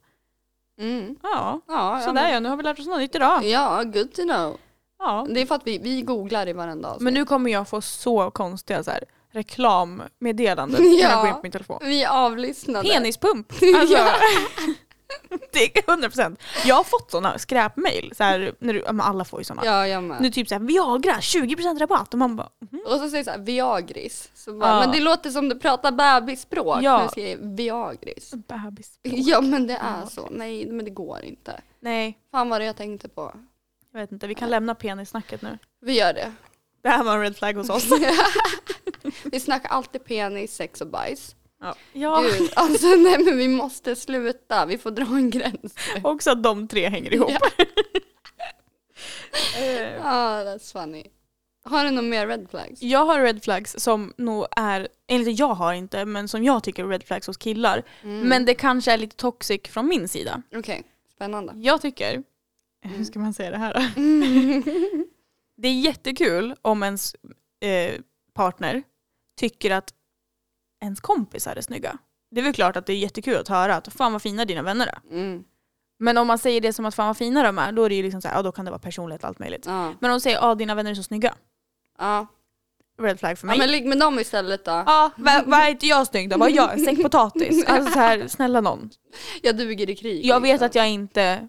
Speaker 1: Mm.
Speaker 2: Ja,
Speaker 1: Ja, ja,
Speaker 2: sådär ja. Nu har vi lärt oss något nytt idag.
Speaker 1: ja, good to know.
Speaker 2: Ja.
Speaker 1: Det är för att vi, vi googlar i varenda avsnitt.
Speaker 2: Men nu kommer jag få så konstiga så här, reklammeddelanden när jag går in på min telefon.
Speaker 1: Vi är avlyssnade.
Speaker 2: Penispump! Alltså, det är 100%. Jag har fått sådana skräpmejl. Så här, när du, ja, men alla får ju sådana.
Speaker 1: Ja, jag med.
Speaker 2: Nu typ såhär Viagra 20% rabatt och man bara
Speaker 1: Och så säger det så här, Viagris. Så bara,
Speaker 2: Ja.
Speaker 1: Men det låter som du pratar bebisspråk
Speaker 2: Ja.
Speaker 1: när du säger Viagris.
Speaker 2: bebis.
Speaker 1: Ja men det är så. Nej men det går inte.
Speaker 2: Nej,
Speaker 1: Fan vad det jag tänkte på.
Speaker 2: jag vet inte. Vi kan lämna penissnacket nu.
Speaker 1: Vi gör det.
Speaker 2: Det här var en red flag hos oss.
Speaker 1: Vi snackar alltid penis, sex och bajs.
Speaker 2: Ja. ja.
Speaker 1: Gud, alltså nej men vi måste sluta. Vi får dra en gräns.
Speaker 2: Också att de tre hänger ihop. Eh,
Speaker 1: Ah, that's funny. Har du någon mer red flags?
Speaker 2: jag har red flags som nog är, enligt jag har inte, men som jag tycker är red flags hos killar.
Speaker 1: Mm.
Speaker 2: Men det kanske är lite toxic från min sida.
Speaker 1: Okej, spännande.
Speaker 2: Jag tycker,
Speaker 1: Mm.
Speaker 2: hur ska man säga det här då? Det är jättekul om ens eh, partner tycker att ens kompisar är snygga. Det är väl klart att det är jättekul att höra att fan vad fina dina vänner är.
Speaker 1: Mm.
Speaker 2: Men om man säger det som att fan vad fina de är, då är det ju liksom så här, ja då kan det vara personligt och allt möjligt.
Speaker 1: Ja.
Speaker 2: Men om de säger att dina vänner är så snygga,
Speaker 1: Ja.
Speaker 2: red flag för
Speaker 1: ja
Speaker 2: mig. Ja,
Speaker 1: men ligg med dem istället då.
Speaker 2: va- vad är inte jag snygg då? Vad är jag? En säck potatis? Alltså så här, snälla någon.
Speaker 1: Jag duger i krig.
Speaker 2: Jag vet
Speaker 1: liksom.
Speaker 2: att jag inte...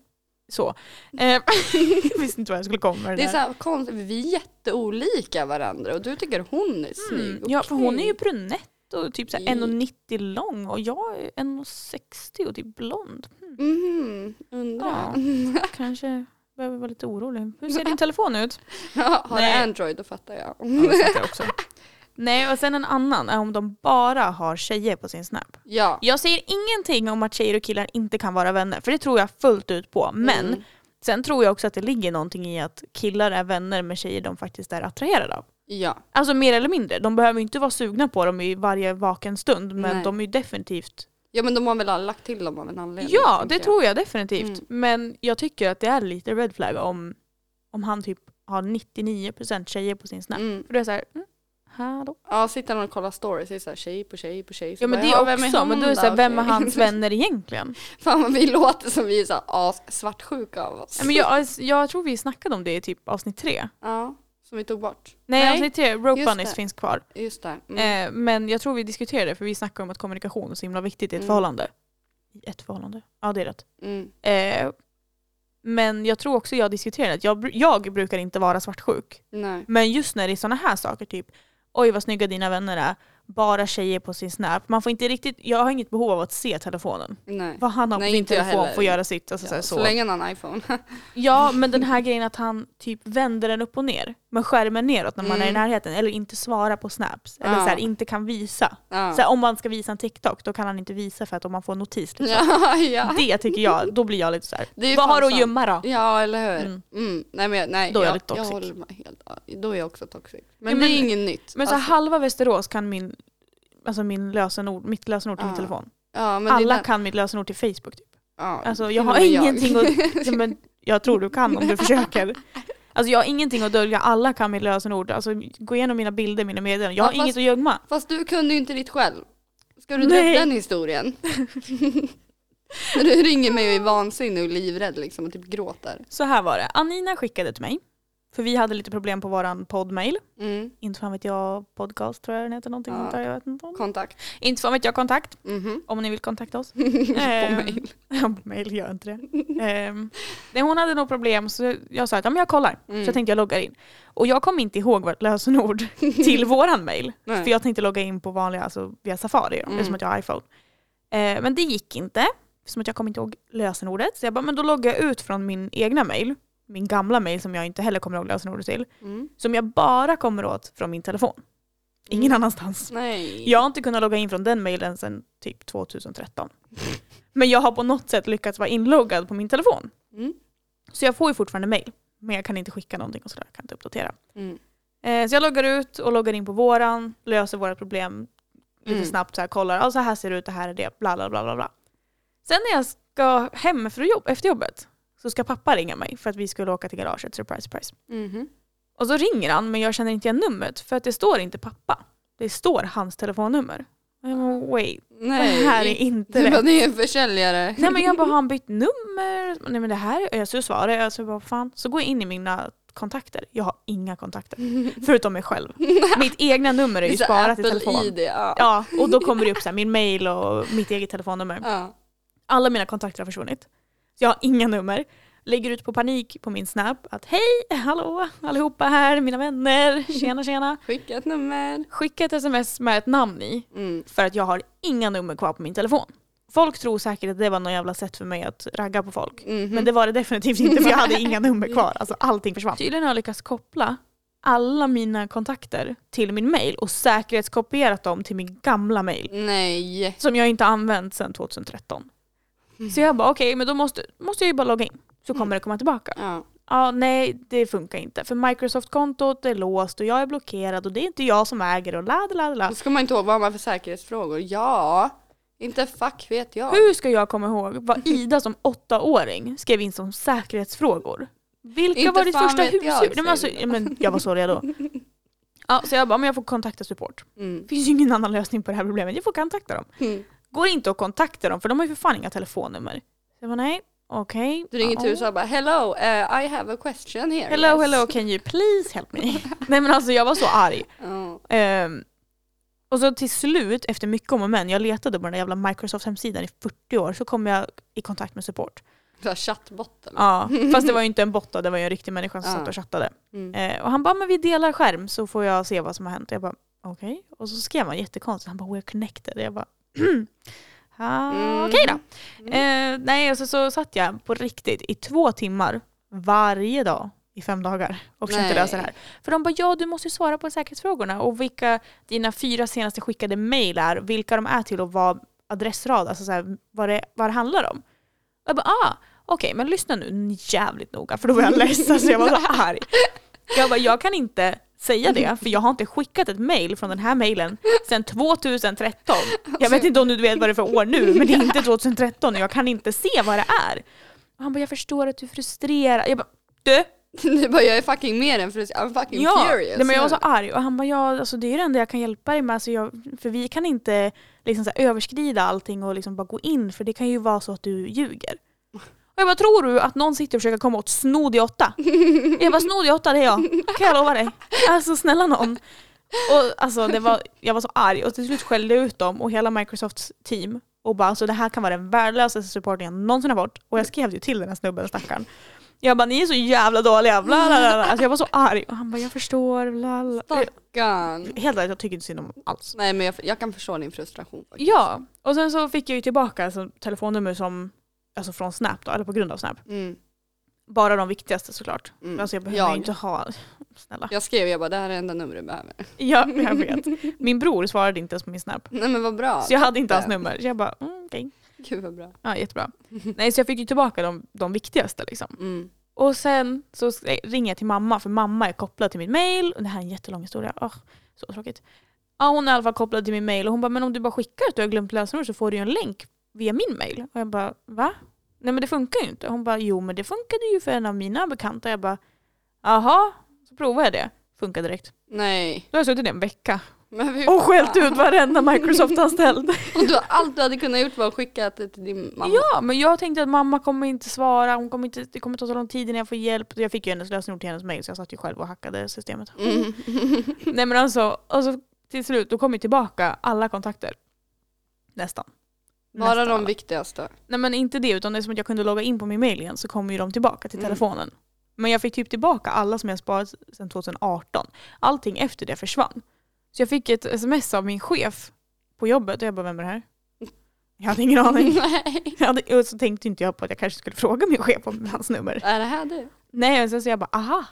Speaker 2: Så. Eh, jag visste inte vad jag skulle komma med det
Speaker 1: Det är så
Speaker 2: där.
Speaker 1: här konstigt, vi är jätteolika varandra och du tycker hon är snygg.
Speaker 2: Mm, ja, för
Speaker 1: Okej.
Speaker 2: hon är ju brunett och typ så här
Speaker 1: I-
Speaker 2: 1,90 lång och jag är 1,60 och typ blond. Mm,
Speaker 1: Mhm, undrar.
Speaker 2: kanske behöver vara lite orolig. Hur ser din telefon ut?
Speaker 1: Har du
Speaker 2: Nej.
Speaker 1: Android då fattar jag.
Speaker 2: Ja, det satt jag också. Nej, och sen en annan är om de bara har tjejer på sin Snap.
Speaker 1: Ja.
Speaker 2: Jag säger ingenting om att tjejer och killar inte kan vara vänner, för det tror jag fullt ut på. Men
Speaker 1: Mm.
Speaker 2: sen tror jag också att det ligger någonting i att killar är vänner med tjejer de faktiskt är attraherade av.
Speaker 1: Ja.
Speaker 2: Alltså mer eller mindre, de behöver ju inte vara sugna på dem i varje vaken stund, men
Speaker 1: Nej.
Speaker 2: de är ju definitivt...
Speaker 1: ja, men de har väl alla lagt till dem av en anledning.
Speaker 2: Ja,
Speaker 1: tänker
Speaker 2: det
Speaker 1: jag.
Speaker 2: tror jag definitivt.
Speaker 1: Mm.
Speaker 2: Men jag tycker att det är lite red flag om, om han typ har 99% tjejer på sin Snap.
Speaker 1: Mm.
Speaker 2: För då är det såhär, mm, hallå?
Speaker 1: Ja, sitter han och kollar stories, det är så här tjej på tjej på tjej. Så
Speaker 2: Ja men
Speaker 1: bara,
Speaker 2: det
Speaker 1: ja,
Speaker 2: är
Speaker 1: vem
Speaker 2: också,
Speaker 1: hon
Speaker 2: men då är det
Speaker 1: då?
Speaker 2: såhär, vem är
Speaker 1: Okej.
Speaker 2: hans vänner egentligen?
Speaker 1: Fan vad vi låter som vi är så här assvartsjuka av oss.
Speaker 2: Nej, men jag, alltså, jag tror vi snackade om det i typ avsnitt tre.
Speaker 1: Ja, som vi tog bort.
Speaker 2: Nej,
Speaker 1: Nej,
Speaker 2: avsnitt tre, Rope
Speaker 1: just
Speaker 2: Bunnies
Speaker 1: det.
Speaker 2: finns kvar.
Speaker 1: Just det. Mm.
Speaker 2: Eh, men jag tror vi diskuterade det för vi snackade om att kommunikation är så himla viktigt i ett
Speaker 1: Mm.
Speaker 2: förhållande. I ett förhållande? Ja det är rätt.
Speaker 1: Mm.
Speaker 2: Eh, men jag tror också jag diskuterade att jag, bru- jag brukar inte vara svartsjuk.
Speaker 1: Nej.
Speaker 2: Men just när det är sådana här saker, typ oj vad snygga dina vänner är, bara tjejer på sin snap. Man får inte riktigt, jag har inget behov av att se telefonen.
Speaker 1: Nej.
Speaker 2: Vad han har
Speaker 1: Nej,
Speaker 2: på sin
Speaker 1: inte jag
Speaker 2: telefon
Speaker 1: heller.
Speaker 2: får göra sitt. Alltså, så,
Speaker 1: Ja,
Speaker 2: här,
Speaker 1: så
Speaker 2: så.
Speaker 1: länge han har en iPhone.
Speaker 2: Ja, men den här grejen att han typ vänder den upp och ner med skärmen neråt när man är i
Speaker 1: Mm.
Speaker 2: närheten eller inte svarar på snaps eller
Speaker 1: Ja.
Speaker 2: så här, inte kan visa.
Speaker 1: Ja.
Speaker 2: Så här, om man ska visa en TikTok då kan han inte visa för att om man får en notis. Liksom.
Speaker 1: Ja, ja.
Speaker 2: Det tycker jag, då blir jag lite så här.
Speaker 1: Det är ju
Speaker 2: vad
Speaker 1: fan
Speaker 2: har du att
Speaker 1: sant.
Speaker 2: gömma då?
Speaker 1: Ja, eller hur.
Speaker 2: Mm.
Speaker 1: Mm. Nej, men jag- nej,
Speaker 2: Då är jag
Speaker 1: jag,
Speaker 2: lite toxic.
Speaker 1: Jag håller med helt. ja, Då är jag också toxic. Men,
Speaker 2: Ja,
Speaker 1: det är
Speaker 2: men-
Speaker 1: inget nytt.
Speaker 2: Men så här,
Speaker 1: Alltså,
Speaker 2: halva Västerås kan min, alltså min lösenord, mitt lösenord till min
Speaker 1: Ja.
Speaker 2: telefon.
Speaker 1: ja, men det är
Speaker 2: Alla
Speaker 1: den-
Speaker 2: kan mitt lösenord till Facebook. Typ.
Speaker 1: ja,
Speaker 2: Alltså,
Speaker 1: till
Speaker 2: jag
Speaker 1: och
Speaker 2: har
Speaker 1: med
Speaker 2: ingenting att... Ja, men jag tror du kan om du försöker. Alltså jag har ingenting att dölja, alla kan mitt lösenord. Alltså, gå igenom mina bilder, mina meddelanden. Jag har
Speaker 1: Ja, fast-
Speaker 2: inget att gömma.
Speaker 1: Fast du kunde ju inte ditt själv. Ska du dra
Speaker 2: Nej.
Speaker 1: upp den historien? När du ringer mig och är vansinnig och livrädd liksom och typ gråter.
Speaker 2: Så här var det, Anina skickade till mig. För vi hade lite problem på våran poddmail.
Speaker 1: Mm.
Speaker 2: Inte fan vet jag, podcast tror jag den heter, någonting
Speaker 1: Ja.
Speaker 2: sånt där. Jag vet inte.
Speaker 1: Kontakt.
Speaker 2: Inte fan vet jag, kontakt.
Speaker 1: Mhm.
Speaker 2: Om ni vill kontakta oss.
Speaker 1: På
Speaker 2: Ehm,
Speaker 1: mail.
Speaker 2: Ja, på mail gör jag inte det. Ehm, nej, hon hade nog problem så jag sa att ja, men jag kollar. Så
Speaker 1: Mm.
Speaker 2: jag tänkte jag loggar in. Och jag kom inte ihåg vårt lösenord till våran mail.
Speaker 1: Nej.
Speaker 2: För jag tänkte logga in på vanliga, alltså via Safari mm.
Speaker 1: Mm.
Speaker 2: eftersom att jag har iPhone. Eh, men det gick inte, eftersom att jag kom inte ihåg lösenordet. Så jag bara, men då loggar jag ut från min egna mail, min gamla mail som jag inte heller kommer ihåg lösenordet till,
Speaker 1: Mm.
Speaker 2: som jag bara kommer åt från min telefon. Ingen
Speaker 1: Mm.
Speaker 2: annanstans.
Speaker 1: Nej.
Speaker 2: Jag har inte kunnat logga in från den mailen sedan typ 2013. Men jag har på något sätt lyckats vara inloggad på min telefon.
Speaker 1: Mm.
Speaker 2: Så jag får ju fortfarande mail. Men jag kan inte skicka någonting och sådär. Jag kan inte uppdatera.
Speaker 1: Mm.
Speaker 2: Eh, så jag loggar ut och loggar in på våran. Löser våra problem lite
Speaker 1: Mm.
Speaker 2: snabbt. Så här, kollar. Ja, så här ser det ut. Det här är det. Bla bla bla bla. bla. Sen när jag ska hem för jobb, efter jobbet så ska pappa ringa mig för att vi skulle åka till garaget. Surprise surprise. Mm-hmm.
Speaker 1: Mhm.
Speaker 2: Och så ringer han men jag känner inte igen numret för att det står inte pappa. Det står hans telefonnummer. Och jag bara, wait,
Speaker 1: Nej.
Speaker 2: det här är inte
Speaker 1: du bara,
Speaker 2: rätt.
Speaker 1: det är en försäljare.
Speaker 2: Nej men jag bara, har han bytt nummer? Nej men det här är... Så svarar jag, så jag bara, fan. Så går jag in i mina kontakter. Jag har inga kontakter. Förutom mig själv. Mitt egna nummer är ju
Speaker 1: så
Speaker 2: sparat i
Speaker 1: Apple
Speaker 2: telefon.
Speaker 1: ID, ja.
Speaker 2: Ja, och då kommer det upp så här, min mail och mitt eget telefonnummer.
Speaker 1: Ja.
Speaker 2: Alla mina kontakter har försvunnit. Så jag har inga nummer. Lägger ut på panik på min Snap att hej, hallå, allihopa här, mina vänner, tjena tjena.
Speaker 1: Skicka ett nummer.
Speaker 2: Skicka ett sms med ett namn i
Speaker 1: Mm.
Speaker 2: för att jag har inga nummer kvar på min telefon. Folk tror säkert att det var något jävla sätt för mig att ragga på folk.
Speaker 1: Mhm.
Speaker 2: Men det var det definitivt inte för jag hade inga nummer kvar. Alltså allting försvann. Tydligen har jag lyckats koppla alla mina kontakter till min mail och säkerhetskopierat dem till min gamla mail
Speaker 1: Nej.
Speaker 2: som jag inte har använt sedan 2013. Så jag bara okej, men då måste, måste jag ju bara logga in så kommer det komma tillbaka.
Speaker 1: Ja.
Speaker 2: Ja, nej, det funkar inte för Microsoft-kontot är låst och jag är blockerad och det är inte jag som äger och la la la, la.
Speaker 1: Då ska man inte ihåg vad man har för säkerhetsfrågor. Ja. Inte fuck vet jag.
Speaker 2: Hur ska jag komma ihåg vad Ida som åttaåring skrev in som säkerhetsfrågor? Vilka
Speaker 1: Inte
Speaker 2: var ditt
Speaker 1: fan
Speaker 2: första
Speaker 1: vet jag,
Speaker 2: husdjur? Nej, men
Speaker 1: säger
Speaker 2: alltså,
Speaker 1: Ida.
Speaker 2: ja, men jag var så redo. Ja, så jag bara, men jag får kontakta support.
Speaker 1: Mm.
Speaker 2: Det finns ju ingen annan lösning på det här problemet. Jag får kontakta dem.
Speaker 1: Mm.
Speaker 2: Går inte att kontakta dem för de har ju för fan inga telefonnummer. Så jag bara, nej, okej.
Speaker 1: Du ringer till
Speaker 2: ja. oh.
Speaker 1: USA och bara hello, eh, I have a question here.
Speaker 2: Hello,
Speaker 1: yes."
Speaker 2: hello, can you please help me? nej men alltså jag var så arg.
Speaker 1: Ja.
Speaker 2: Ehm, och så till slut, efter mycket om och men, jag letade på den där jävla Microsoft-hemsidan i 40 år, så kom jag i kontakt med support.
Speaker 1: Du har chattbot eller?
Speaker 2: Ja, fast det var ju inte en bot då, det var ju en riktig människa som
Speaker 1: Ja.
Speaker 2: satt och chattade.
Speaker 1: Mm.
Speaker 2: Eh, och han bara, men vi delar skärm så får jag se vad som har hänt. Jag bara, okej. Och så skrev han jättekonstigt, han bara, we're connected. Jag bara, "Hmm. ah,
Speaker 1: Mm.
Speaker 2: okej då. Eh, nej, och så, så satt jag på riktigt i två timmar varje dag i fem dagar och försökte
Speaker 1: Nej.
Speaker 2: lösa det här. För de bara, ja du måste ju svara på säkerhetsfrågorna och vilka dina fyra senaste skickade mejl är, vilka de är till och vad adressrad, alltså så här, vad, det, vad det handlar om. Och jag bara, ah, okej men lyssna nu jävligt noga för då var jag ledsen så jag var så arg. Jag bara, jag kan inte säga det för jag har inte skickat ett mejl från den här mejlen sedan 2013. Jag vet inte om du vet vad det är för år nu men det är inte 2013 och jag kan inte se vad det är. Och han bara, jag förstår att du är frustrerad. Jag bara, du!
Speaker 1: Du bara jag är fucking mer än frus- I'm fucking
Speaker 2: Ja,
Speaker 1: furious.
Speaker 2: nej, men jag var så
Speaker 1: nu.
Speaker 2: arg och han bara ja, alltså, det är det enda jag kan hjälpa dig med. Alltså, jag, för vi kan inte liksom, så här, överskrida allting och liksom, bara gå in för det kan ju vara så att du ljuger. Och jag bara tror du att någon sitter och försöker komma åt snodiotta? Jag bara snodiotta det är jag, kan jag lova dig. Alltså snälla någon. Och, alltså, det var, jag var så arg och till slut skällde jag ut dem och hela Microsofts team och bara alltså det här kan vara den värdelösaste supporten jag någonsin har fått. Och jag skrev ju till den här snubben stackaren. Jag bara ni är så jävla dåliga, bla bla bla. Alltså jag var så arg och han bara jag förstår, bla bla. Eh,
Speaker 1: Stackarn.
Speaker 2: Helt ärligt jag tycker inte synd om honom alls.
Speaker 1: Nej men jag, jag kan förstå din frustration. faktiskt.
Speaker 2: Ja, och sen så fick jag ju tillbaka alltså, telefonnummer som, alltså från Snap då, eller på grund av Snap.
Speaker 1: Mm.
Speaker 2: Bara de viktigaste såklart.
Speaker 1: Mm.
Speaker 2: Alltså jag behöver
Speaker 1: Jag.
Speaker 2: inte ha, snälla.
Speaker 1: Jag skrev jag bara det här är enda numret du behöver.
Speaker 2: Ja, jag vet. Min bror svarade inte ens på min Snap.
Speaker 1: Nej men vad bra.
Speaker 2: Så jag hade inte hans
Speaker 1: toppen.
Speaker 2: nummer. Så jag bara, mm, okej.
Speaker 1: Gud vad bra.
Speaker 2: Ja, jättebra. Nej, så jag fick ju tillbaka de, de viktigaste liksom.
Speaker 1: Mm.
Speaker 2: Och sen så eh, ringer jag till mamma, för mamma är kopplad till min mail. Och det här är en jättelång historia. Ah, så tråkigt. Ja, hon är i alla fall kopplad till min mail och hon bara, men om du bara skickar att du har glömt lösenord så får du ju en länk via min mail. Och jag bara, va? Nej men det funkar ju inte. Hon bara, jo men det funkade ju för en av mina bekanta. Jag bara, jaha. Så provade jag det. Funkar direkt.
Speaker 1: Nej.
Speaker 2: Då har jag suttit i en vecka
Speaker 1: Men vi,
Speaker 2: och skällt ut varenda Microsoft-anställd.
Speaker 1: och du, allt du hade kunnat gjort var att skicka det till din mamma.
Speaker 2: Ja, men jag tänkte att mamma kommer inte svara, hon kommer inte, det kommer ta så lång tid innan jag får hjälp. Jag fick ju hennes lösenord till hennes mail så jag satt ju själv och hackade systemet.
Speaker 1: Mm.
Speaker 2: Nej men alltså, alltså till slut då kom ju tillbaka alla kontakter. Nästan.
Speaker 1: Bara
Speaker 2: Nästan
Speaker 1: de
Speaker 2: alla.
Speaker 1: viktigaste.
Speaker 2: Nej men inte det, utan det är som att jag kunde logga in på min mail igen så kom ju de tillbaka till
Speaker 1: Mm.
Speaker 2: telefonen. Men jag fick typ tillbaka alla som jag sparat sedan 2018. Allting efter det försvann. Så jag fick ett sms av min chef på jobbet och jag bara, vem är det här? Jag hade ingen aning.
Speaker 1: Nej.
Speaker 2: Ja, det- och så tänkte inte jag på att jag kanske skulle fråga min chef om hans nummer.
Speaker 1: Är det här du?
Speaker 2: Nej, och sen så jag bara aha,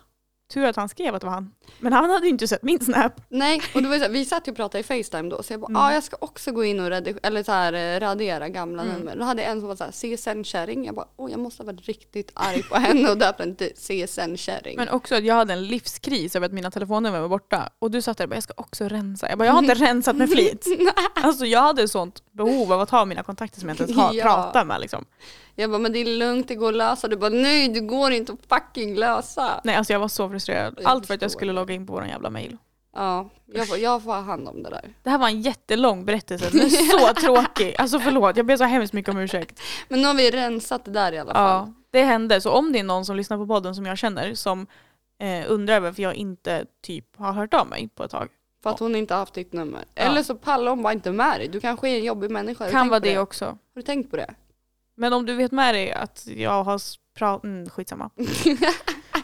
Speaker 2: Tur att han skrev att det var han. Men han hade ju inte sett min snap.
Speaker 1: Nej, och det var ju så här, vi satt ju och pratade i Facetime då så jag bara, ja
Speaker 2: Mm.
Speaker 1: ah, jag ska också gå in och redig- eller så här, eh, radera gamla
Speaker 2: Mm.
Speaker 1: nummer. Då hade jag en som var så här, CSN-kärring. Jag bara, åh jag måste ha varit riktigt arg på henne och döpt henne till CSN-kärring.
Speaker 2: Men också att jag hade en livskris över att mina telefonnummer var borta. Och du satt där och bara, jag ska också rensa. Jag bara, jag har inte rensat med flit. Alltså jag hade ett sånt behov av att ha mina kontakter som jag inte ens har,
Speaker 1: Ja.
Speaker 2: pratar med liksom.
Speaker 1: Jag bara, men det är lugnt, det går att lösa. Du bara, nej det går inte att fucking lösa.
Speaker 2: Nej alltså jag var så frustrerad.
Speaker 1: Jag
Speaker 2: Allt för att jag
Speaker 1: förstår
Speaker 2: skulle
Speaker 1: det.
Speaker 2: logga in på våran jävla mail.
Speaker 1: Ja, jag, bara, jag får ha hand om det där.
Speaker 2: Det här var en jättelång berättelse, den är så tråkig. Alltså förlåt, jag ber så hemskt mycket om ursäkt.
Speaker 1: Men nu har vi rensat det där i alla fall.
Speaker 2: Ja, det hände. Så om det är någon som lyssnar på podden som jag känner som eh, undrar varför jag inte typ har hört av mig på ett tag.
Speaker 1: För att hon inte har haft ditt nummer.
Speaker 2: Ja.
Speaker 1: Eller så pallar hon bara inte med dig. Du kanske är en jobbig människa. Har du
Speaker 2: Kan
Speaker 1: tänkt
Speaker 2: vara
Speaker 1: på
Speaker 2: det också.
Speaker 1: Har du tänkt på det?
Speaker 2: Men om du vet med dig att jag har pratat... Mm, skitsamma.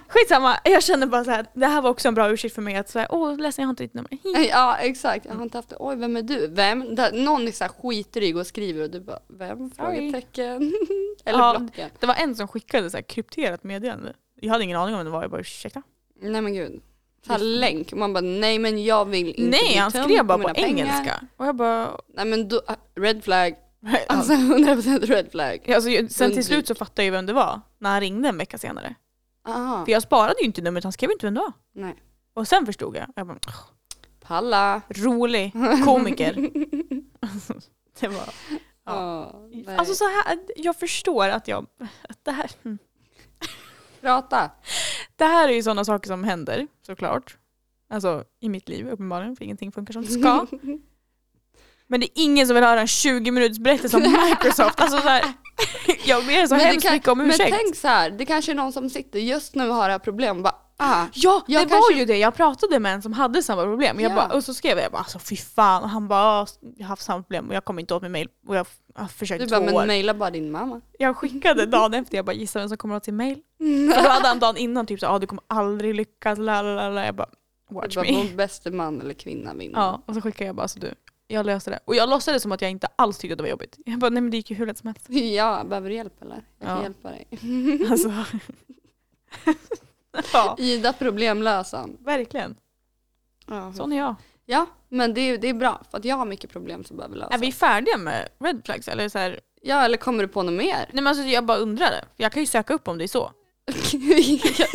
Speaker 2: skitsamma, jag känner bara så här, det här var också en bra ursäkt för mig att säga åh ledsen jag har inte ditt nummer. Hi.
Speaker 1: Ja exakt, jag har inte haft det. Oj vem är du? Vem? Där, någon är så här skitdryg och skriver och du bara vem? Frågetecken. Eller
Speaker 2: Ja.
Speaker 1: blocken.
Speaker 2: Det var en som skickade så här krypterat meddelande. Jag hade ingen aning om vem det var, jag bara ursäkta.
Speaker 1: Nej men gud. Så här länk. Man bara nej men jag vill inte
Speaker 2: Nej,
Speaker 1: bli
Speaker 2: han
Speaker 1: tömd
Speaker 2: skrev bara på
Speaker 1: mina pengar.
Speaker 2: engelska. Och jag bara...
Speaker 1: Nej men då, ah, red flag. Alltså 100% red flag.
Speaker 2: Alltså, jag- sen till
Speaker 1: Undvik.
Speaker 2: slut så fattade jag ju vem det var när han ringde en vecka senare.
Speaker 1: Aha.
Speaker 2: För jag sparade ju inte numret, han skrev inte vem det var.
Speaker 1: Nej.
Speaker 2: Och sen förstod jag. jag bara, "Åh,
Speaker 1: Palla.
Speaker 2: rolig komiker. det var, ja.
Speaker 1: Ja. nej.
Speaker 2: Alltså så här, jag förstår att jag... Att det, här, mm.
Speaker 1: prata.
Speaker 2: det här är ju sådana saker som händer såklart. Alltså i mitt liv uppenbarligen, för ingenting funkar som det ska. Men det är ingen som vill höra en 20 minuters berättelse om Microsoft. Alltså så här, jag ber så
Speaker 1: Men det
Speaker 2: hemskt
Speaker 1: kan-
Speaker 2: mycket om
Speaker 1: Men
Speaker 2: ursäkt.
Speaker 1: tänk så här, det kanske är någon som sitter just nu och har det här problemet och bara ah,
Speaker 2: Ja,
Speaker 1: Jag
Speaker 2: det
Speaker 1: kanske-
Speaker 2: var ju det. Jag pratade med en som hade samma problem. Jag
Speaker 1: Ja.
Speaker 2: bara, och så skrev jag, jag bara, alltså fy fan. Och han bara, "Ja, jag har haft samma problem och jag kommer inte åt min mail. Och jag har försökt
Speaker 1: du
Speaker 2: två
Speaker 1: bara men
Speaker 2: år.
Speaker 1: mejla bara din mamma.
Speaker 2: Jag skickade dagen efter, jag bara, gissa vem som kommer åt sin mail?
Speaker 1: Mm.
Speaker 2: För då hade han dagen innan typ så ah, du kommer aldrig lyckas, la la la, la. Jag bara,
Speaker 1: Du
Speaker 2: watch
Speaker 1: bara
Speaker 2: me.
Speaker 1: vår bäste man eller kvinna vinner.
Speaker 2: Ja, och så skickade jag bara, alltså du, jag löser det. Och jag låtsades som att jag inte alls tyckte att det var jobbigt. Jag bara, nej men det gick ju hur lätt som helst.
Speaker 1: Ja, behöver du hjälp eller? Jag kan
Speaker 2: Ja.
Speaker 1: hjälpa dig.
Speaker 2: Alltså. ja,
Speaker 1: Ida problemlösaren.
Speaker 2: verkligen.
Speaker 1: Ja,
Speaker 2: Sån är jag.
Speaker 1: ja men det är, det är bra för att jag har mycket problem som behöver
Speaker 2: Är
Speaker 1: lösas.
Speaker 2: vi färdiga med red flags eller så här,
Speaker 1: Ja eller kommer du på något mer?
Speaker 2: Nej men alltså jag bara undrar det. Jag kan ju söka upp om det är så.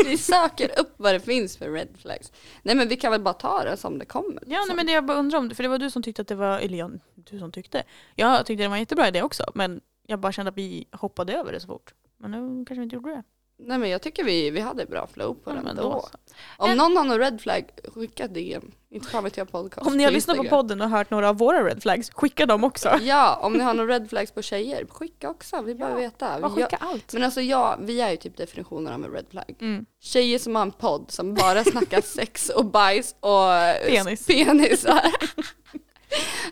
Speaker 1: vi söker upp vad det finns för red flags. Nej men vi kan väl bara ta det som det kommer. liksom.
Speaker 2: Ja nej, men det jag bara undrar om det, för det var du som tyckte att det var, eller jag, du som tyckte. Jag tyckte det var en jättebra idé också men jag bara kände att vi hoppade över det så fort. Men nu kanske vi inte gjorde det.
Speaker 1: Nej men jag tycker vi, vi hade bra flow på
Speaker 2: Ja,
Speaker 1: den
Speaker 2: men
Speaker 1: då.
Speaker 2: då så.
Speaker 1: Om
Speaker 2: En-
Speaker 1: någon har någon red flag, skicka DM. Inte fan vet jag podcast.
Speaker 2: Om ni har
Speaker 1: på
Speaker 2: lyssnat på
Speaker 1: Instagram.
Speaker 2: podden och hört några av våra red flags, skicka dem också.
Speaker 1: Ja, om ni har någon red flags på tjejer, skicka också. Vi behöver veta.
Speaker 2: Bara
Speaker 1: Vi- jag-
Speaker 2: skicka allt.
Speaker 1: Men alltså jag, vi är ju typ definitionen av en red flag.
Speaker 2: Mm.
Speaker 1: Tjejer som har en podd som bara snackar sex och bajs och eh,
Speaker 2: Penis.
Speaker 1: penisar.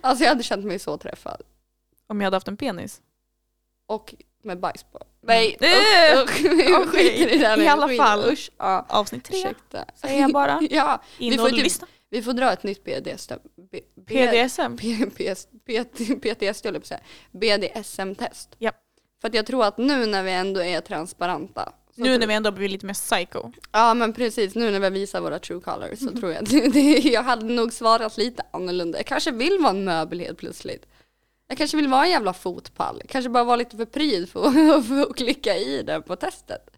Speaker 1: alltså jag hade känt mig så träffad.
Speaker 2: Om jag hade haft en penis.
Speaker 1: Och med bajs på. Nej
Speaker 2: Mm.
Speaker 1: usch, usch, vi
Speaker 2: Okej,
Speaker 1: skiter i det här
Speaker 2: i
Speaker 1: nu.
Speaker 2: alla
Speaker 1: Skit-
Speaker 2: fall.
Speaker 1: Usch, ja,
Speaker 2: Avsnitt tre
Speaker 1: ursäkta.
Speaker 2: säger jag bara.
Speaker 1: Ja,
Speaker 2: In
Speaker 1: Vi får
Speaker 2: och
Speaker 1: typ-
Speaker 2: lyssna.
Speaker 1: vi får dra ett nytt BDSM. B- B-
Speaker 2: PDSM.
Speaker 1: P- PS- PT PTSD höll jag på att säga. BDSM-test.
Speaker 2: Japp.
Speaker 1: För att jag tror att nu när vi ändå är transparenta. så
Speaker 2: Nu
Speaker 1: tror-
Speaker 2: när vi ändå blir lite mer psycho.
Speaker 1: Ja men precis, nu när vi visar våra true colors
Speaker 2: Mhm.
Speaker 1: så tror jag att det, jag hade nog svarat lite annorlunda. Jag kanske vill vara en möbel helt plötsligt. Jag kanske vill vara en jävla fotpall. Jag kanske bara vara lite för pryd för att, för att klicka i den på testet.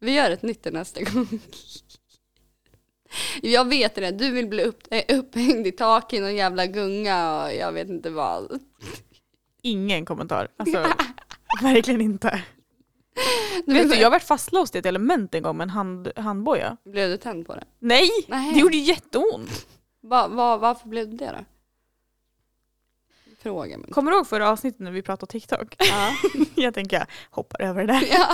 Speaker 1: Vi gör ett nytt till nästa gång. Jag vet det, du vill bli upp, eh, upphängd i tak i någon jävla gunga och jag vet inte vad.
Speaker 2: Ingen kommentar. Alltså, verkligen inte. Vet du, jag varit fastlåst i ett element en gång med en hand, handboja.
Speaker 1: Blev du tänd på det?
Speaker 2: Nej,
Speaker 1: Nej.
Speaker 2: det gjorde jätteont.
Speaker 1: Va, va, varför blev du det då? Fråga mig.
Speaker 2: Kommer du ihåg förra avsnittet när vi pratade TikTok?
Speaker 1: Ja.
Speaker 2: jag tänker, jag hoppar över det där.
Speaker 1: ja.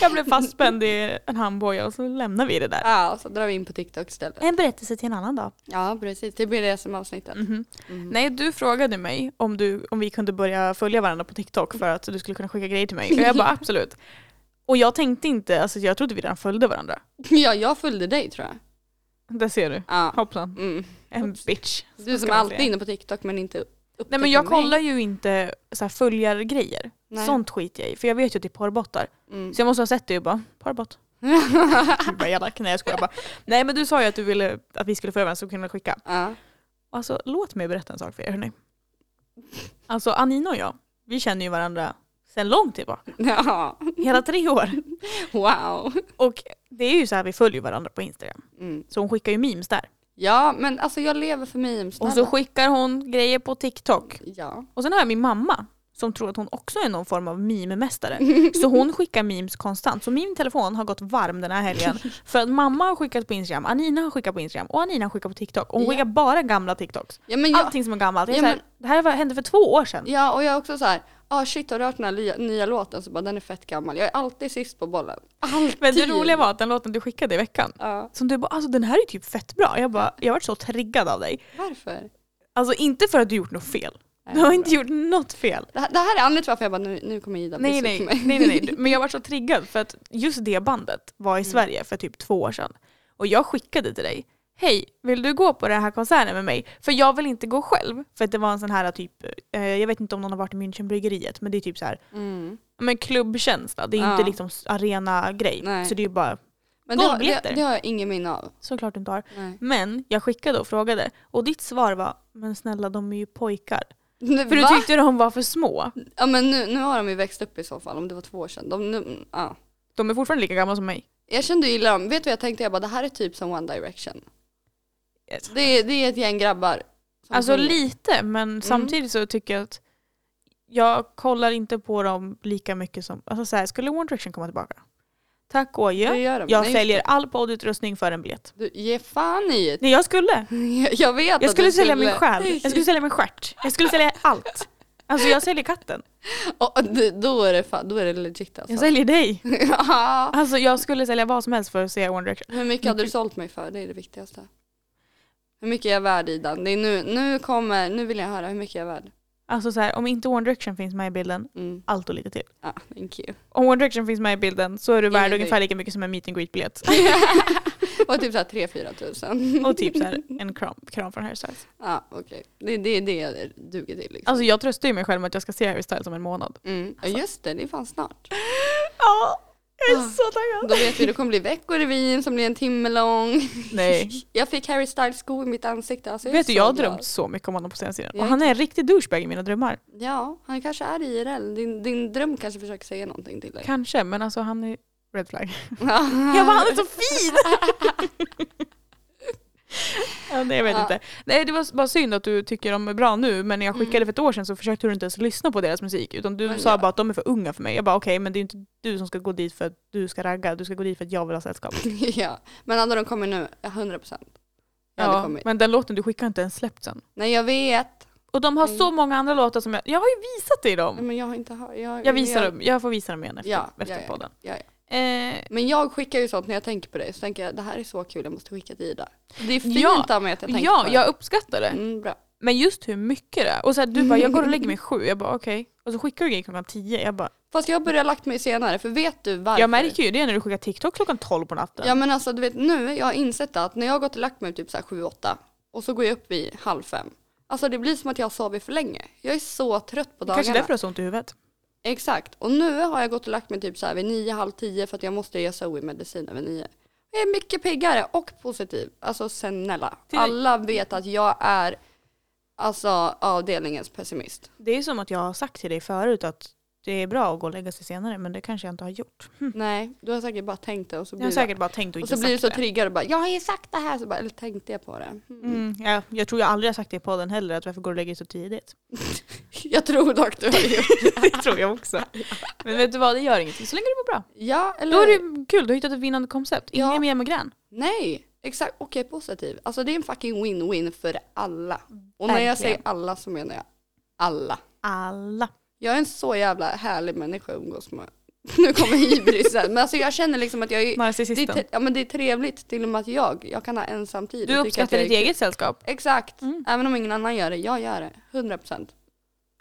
Speaker 2: Jag blev fastspänd i en handboja och så lämnar vi det där.
Speaker 1: Ja, och så drar vi in på TikTok istället.
Speaker 2: En berättelse till en annan dag. Mm.
Speaker 1: Ja, precis. Det blir det som avsnittet.
Speaker 2: Mhm.
Speaker 1: Mm.
Speaker 2: Nej, du frågade mig om, du, om vi kunde börja följa varandra på TikTok för att du skulle kunna skicka grejer till mig. Och jag bara absolut. Och jag tänkte inte, alltså jag trodde vi redan följde varandra.
Speaker 1: Ja, jag följde dig tror jag.
Speaker 2: Där ser du.
Speaker 1: Ja.
Speaker 2: Hoppsan.
Speaker 1: Mm.
Speaker 2: En bitch. Typ
Speaker 1: Du som
Speaker 2: man
Speaker 1: alltid är
Speaker 2: säga.
Speaker 1: inne på TikTok men inte upptäcker
Speaker 2: Nej men jag
Speaker 1: mig.
Speaker 2: kollar ju inte så här, följargrejer.
Speaker 1: Nej.
Speaker 2: Sånt skiter jag i. För jag vet ju att det är porrbottar.
Speaker 1: Mm.
Speaker 2: Så jag måste ha sett det och bara, parbot. Gud vad elak. Nej jag skojar bara. Nej men du sa ju att du ville att vi skulle få över en kunde skicka.
Speaker 1: Ja.
Speaker 2: Alltså låt mig berätta en sak för er hörni. Alltså Anina och jag, vi känner ju varandra sedan långt tillbaka.
Speaker 1: ja.
Speaker 2: Hela tre år.
Speaker 1: Wow.
Speaker 2: Och det är ju så här vi följer varandra på Instagram.
Speaker 1: Mm.
Speaker 2: Så hon skickar ju memes där.
Speaker 1: Ja men alltså jag lever för memes.
Speaker 2: Och så
Speaker 1: snälla.
Speaker 2: skickar hon grejer på TikTok.
Speaker 1: Ja.
Speaker 2: Och sen har jag min mamma som tror att hon också är någon form av meme-mästare. Så hon skickar memes konstant. Så min telefon har gått varm den här helgen. För att mamma har skickat på Instagram, Anina har skickat på Instagram och Anina har skickat på TikTok. Och hon
Speaker 1: Ja.
Speaker 2: skickar bara gamla TikToks.
Speaker 1: Ja, men jag,
Speaker 2: Allting som är gammalt. Jag
Speaker 1: Ja,
Speaker 2: är så här,
Speaker 1: men-
Speaker 2: det här var- hände för två år sedan.
Speaker 1: ja och jag är också så här, ah shit har du hört den här lia- nya låten? Så bara den är fett gammal. Jag är alltid sist på bollen. Alltid.
Speaker 2: Men det roliga var att den låten du skickade i veckan,
Speaker 1: Ja,
Speaker 2: som du bara alltså den här är ju typ fett bra. Jag bara, jag har varit så triggad av dig.
Speaker 1: varför?
Speaker 2: Alltså inte för att du gjort något fel.
Speaker 1: Nej,
Speaker 2: Du har inte gjort något fel.
Speaker 1: Det här, det här är anledningen till varför jag bara nu, nu kommer Ida bli
Speaker 2: Nej
Speaker 1: sur
Speaker 2: nej,
Speaker 1: på mig.
Speaker 2: nej nej nej, men jag var så triggad för att just det bandet var i
Speaker 1: Mm.
Speaker 2: Sverige för typ två år sedan. Och jag skickade till dig, hej vill du gå på den här konserten med mig? För jag vill inte gå själv. För att det var en sån här typ, eh, jag vet inte om någon har varit i Münchenbryggeriet men det är typ så här,
Speaker 1: Mm.
Speaker 2: men klubbkänsla. Det är ju
Speaker 1: Ja.
Speaker 2: inte liksom s- arenagrej.
Speaker 1: Nej.
Speaker 2: Så det är ju bara,
Speaker 1: Men det, har- det,
Speaker 2: Golvbiljetter.
Speaker 1: det har jag ingen minne av.
Speaker 2: såklart du inte har.
Speaker 1: Nej.
Speaker 2: Men jag skickade och frågade och ditt svar var, men snälla de är ju pojkar.
Speaker 1: Nu,
Speaker 2: För
Speaker 1: va?
Speaker 2: du tyckte de var för små.
Speaker 1: Ja men nu, nu har de ju växt upp i så fall, om det var två år sedan. De, nu, ja.
Speaker 2: De är fortfarande lika gamla som mig.
Speaker 1: Jag kände ju illa dem. vet du vad jag tänkte? Jag bara det här är typ som One Direction. Det, är- det är ett gäng grabbar. som
Speaker 2: Alltså
Speaker 1: sjunger.
Speaker 2: lite, men
Speaker 1: Mm.
Speaker 2: samtidigt så tycker jag att jag kollar inte på dem lika mycket som, alltså så här, skulle One Direction komma tillbaka? Tack och
Speaker 1: Det
Speaker 2: adjö.
Speaker 1: gör de.
Speaker 2: Jag
Speaker 1: Nej,
Speaker 2: säljer all poddutrustning för en biljett.
Speaker 1: Du, ge fan i det.
Speaker 2: Nej jag skulle!
Speaker 1: Jag vet
Speaker 2: Jag
Speaker 1: att
Speaker 2: skulle
Speaker 1: du
Speaker 2: sälja min själ, jag skulle sälja min stjärt, jag skulle sälja allt. Alltså jag säljer katten,
Speaker 1: Och, och det- då, är det fan, då är det legit alltså.
Speaker 2: jag säljer dig.
Speaker 1: Ja.
Speaker 2: Alltså jag skulle sälja vad som helst för att se One Direction.
Speaker 1: Hur mycket hade du sålt mig för? Det är det viktigaste. Hur mycket är jag värd Ida? Det är nu, nu kommer, nu vill jag höra hur mycket jag är värd.
Speaker 2: Alltså så här, om inte One Direction finns med i bilden,
Speaker 1: Mm.
Speaker 2: allt och lite till.
Speaker 1: Ja, thank you.
Speaker 2: Om One Direction finns med i bilden så är du värd
Speaker 1: Ingenting.
Speaker 2: ungefär lika mycket som en meet and greet-biljett.
Speaker 1: Och typ såhär 3-4 tusen.
Speaker 2: Och typ så här, en kram, kram från Harry Styles.
Speaker 1: Ja okej, det, det är det jag duger till liksom.
Speaker 2: Alltså jag tröstar ju mig själv med att jag ska se Harry Styles om en månad.
Speaker 1: Mm. Ja, Just det, det är fan snart.
Speaker 2: Ja,
Speaker 1: jag är
Speaker 2: så taggad.
Speaker 1: Då vet vi det kommer bli Veckorevyn som blir en timme lång.
Speaker 2: Nej.
Speaker 1: Jag fick Harry Styles sko i mitt ansikte. Alltså, jag är
Speaker 2: Vet du,
Speaker 1: så
Speaker 2: jag har
Speaker 1: glad.
Speaker 2: drömt så mycket om honom på senaste tiden.
Speaker 1: Jag
Speaker 2: Och
Speaker 1: är
Speaker 2: han är en riktig douchebag i mina drömmar.
Speaker 1: Ja, han kanske är IRL. Din, din dröm kanske försöker säga någonting till dig.
Speaker 2: Kanske, men alltså han är red flag.
Speaker 1: jag
Speaker 2: Jag bara, han är så fin! ja, nej, jag vet
Speaker 1: Ja.
Speaker 2: inte. Nej, det var bara synd att du tycker de är bra nu, men när jag skickade för ett år sedan så försökte du inte ens lyssna på deras musik. Utan du
Speaker 1: Men
Speaker 2: sa
Speaker 1: Mm. ja.
Speaker 2: bara att de är för unga för mig. Jag bara okej, men det är ju inte du som ska gå dit för att du ska ragga. Du ska gå dit för att jag vill ha sällskap.
Speaker 1: ja. Men hade de kommit nu, Ja, 100 procent. Jag hade
Speaker 2: Ja,
Speaker 1: kommit.
Speaker 2: men den låten du skickade har inte ens släppts än.
Speaker 1: Nej jag vet.
Speaker 2: Och de har
Speaker 1: Mm.
Speaker 2: så många andra låtar som jag, jag har ju visat dig
Speaker 1: Nej,
Speaker 2: dem.
Speaker 1: Men jag har inte hört. Jag,
Speaker 2: Jag visar
Speaker 1: jag,
Speaker 2: dem, jag får visa dem igen efter,
Speaker 1: Ja,
Speaker 2: efter
Speaker 1: ja, ja,
Speaker 2: podden.
Speaker 1: ja,
Speaker 2: Eh,
Speaker 1: Men jag skickar ju sånt när jag tänker på dig. Så tänker jag det här är så kul, jag måste skicka till Ida. Det är fint
Speaker 2: Ja,
Speaker 1: av mig att jag tänker
Speaker 2: ja,
Speaker 1: på det.
Speaker 2: jag uppskattar det.
Speaker 1: Mm, bra.
Speaker 2: Men just hur mycket det är. Och så här, du bara, jag går och lägger mig sju. Jag bara okej. Och så skickar du grejer klockan tio. Jag bara,
Speaker 1: Fast jag börjar lagt mig senare, för vet du varför?
Speaker 2: jag märker ju det när du skickar TikTok klockan tolv på natten.
Speaker 1: Ja men alltså du vet nu, jag har insett att när jag har gått och lagt mig typ så här sju, åtta och så går jag upp vid halv fem. Alltså det blir som att jag har sovit för länge. Jag är så trött på dagarna.
Speaker 2: Kanske därför du har så ont i huvudet.
Speaker 1: Exakt. Och nu har jag gått och lagt mig typ så här vid nio, halv tio för att jag måste ge Zoe medicinen vid nio. Jag är mycket piggare och positiv. Alltså snälla.
Speaker 2: Till-
Speaker 1: Alla vet att jag är alltså avdelningens pessimist.
Speaker 2: Det är som att jag har sagt till dig förut att det är bra att gå och lägga sig senare men det kanske jag inte har gjort.
Speaker 1: Nej, du har säkert bara tänkt det och så
Speaker 2: Mm. Jag
Speaker 1: blir, det-
Speaker 2: har säkert bara tänkt
Speaker 1: och
Speaker 2: och inte
Speaker 1: så blir du så
Speaker 2: sagt det.
Speaker 1: triggad och bara jag har ju sagt det här. Så bara, eller tänkte jag på det? Mm.
Speaker 2: Mm, ja, jag tror jag aldrig har sagt det i podden heller att varför går du och lägger dig så tidigt?
Speaker 1: Jag tror dock du har gjort
Speaker 2: Det tror jag också. Men vet du vad, det gör ingenting så länge du mår bra.
Speaker 1: Ja, eller
Speaker 2: Då är det kul, du har hittat ett vinnande koncept. Ingen
Speaker 1: Ja.
Speaker 2: mer migrän.
Speaker 1: Nej, exakt. Okej, positiv. Alltså det är en fucking win-win för alla. Och när
Speaker 2: Verkligen.
Speaker 1: jag säger alla så menar jag alla.
Speaker 2: Alla.
Speaker 1: Jag är en så jävla härlig människa att umgås med. Nu kommer hybrisen. Men alltså jag känner liksom att jag är... Det är,
Speaker 2: Narcissisten.
Speaker 1: te- ja, men det är trevligt till och med att jag, jag kan ha ensamtid.
Speaker 2: Du
Speaker 1: och tycka att
Speaker 2: uppskattar
Speaker 1: jag är
Speaker 2: ditt
Speaker 1: kul.
Speaker 2: eget sällskap.
Speaker 1: Exakt.
Speaker 2: Mm.
Speaker 1: Även om ingen annan gör det, jag gör det. 100 procent.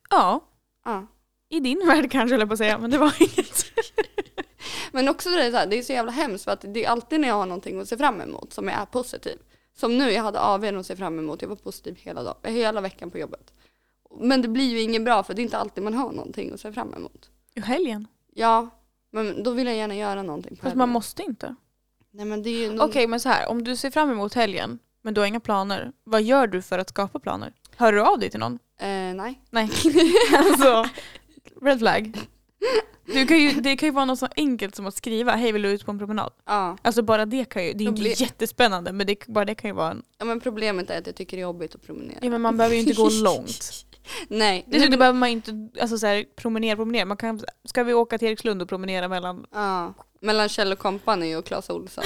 Speaker 2: Ja,
Speaker 1: Ja.
Speaker 2: i din värld kanske höll jag på att säga, men det var inget.
Speaker 1: Men också det är, så här, det är så jävla hemskt för att det är alltid när jag har någonting att se fram emot som jag är positiv. Som nu, jag hade AWn att se fram emot. Jag var positiv hela, dag, hela veckan på jobbet. Men det blir ju inget bra för det är inte alltid man har någonting att se fram emot.
Speaker 2: I helgen.
Speaker 1: Ja, Men då vill jag gärna göra någonting på
Speaker 2: Fast man
Speaker 1: helgen.
Speaker 2: måste inte.
Speaker 1: Nej men det är ju någon...
Speaker 2: Okej men så här, om du ser fram emot helgen men du har inga planer, vad gör du för att skapa planer? Hör du av dig till någon?
Speaker 1: Eh, nej.
Speaker 2: Nej. alltså, red flag. Du kan ju, det kan ju vara något så enkelt som att skriva, hej vill du ut på en promenad?
Speaker 1: Ja.
Speaker 2: Alltså bara det kan ju, det är ju inte
Speaker 1: Problem.
Speaker 2: jättespännande men det, bara det kan ju vara en...
Speaker 1: ja men problemet är att jag tycker det är jobbigt att promenera.
Speaker 2: Ja men man behöver ju inte gå långt.
Speaker 1: Nej.
Speaker 2: Det, det behöver man ju inte, alltså så här, promenera, promenera. Man kan, ska vi åka till Erikslund och promenera mellan,
Speaker 1: Ja. Mellan Kjell och Company och Clas Ohlson.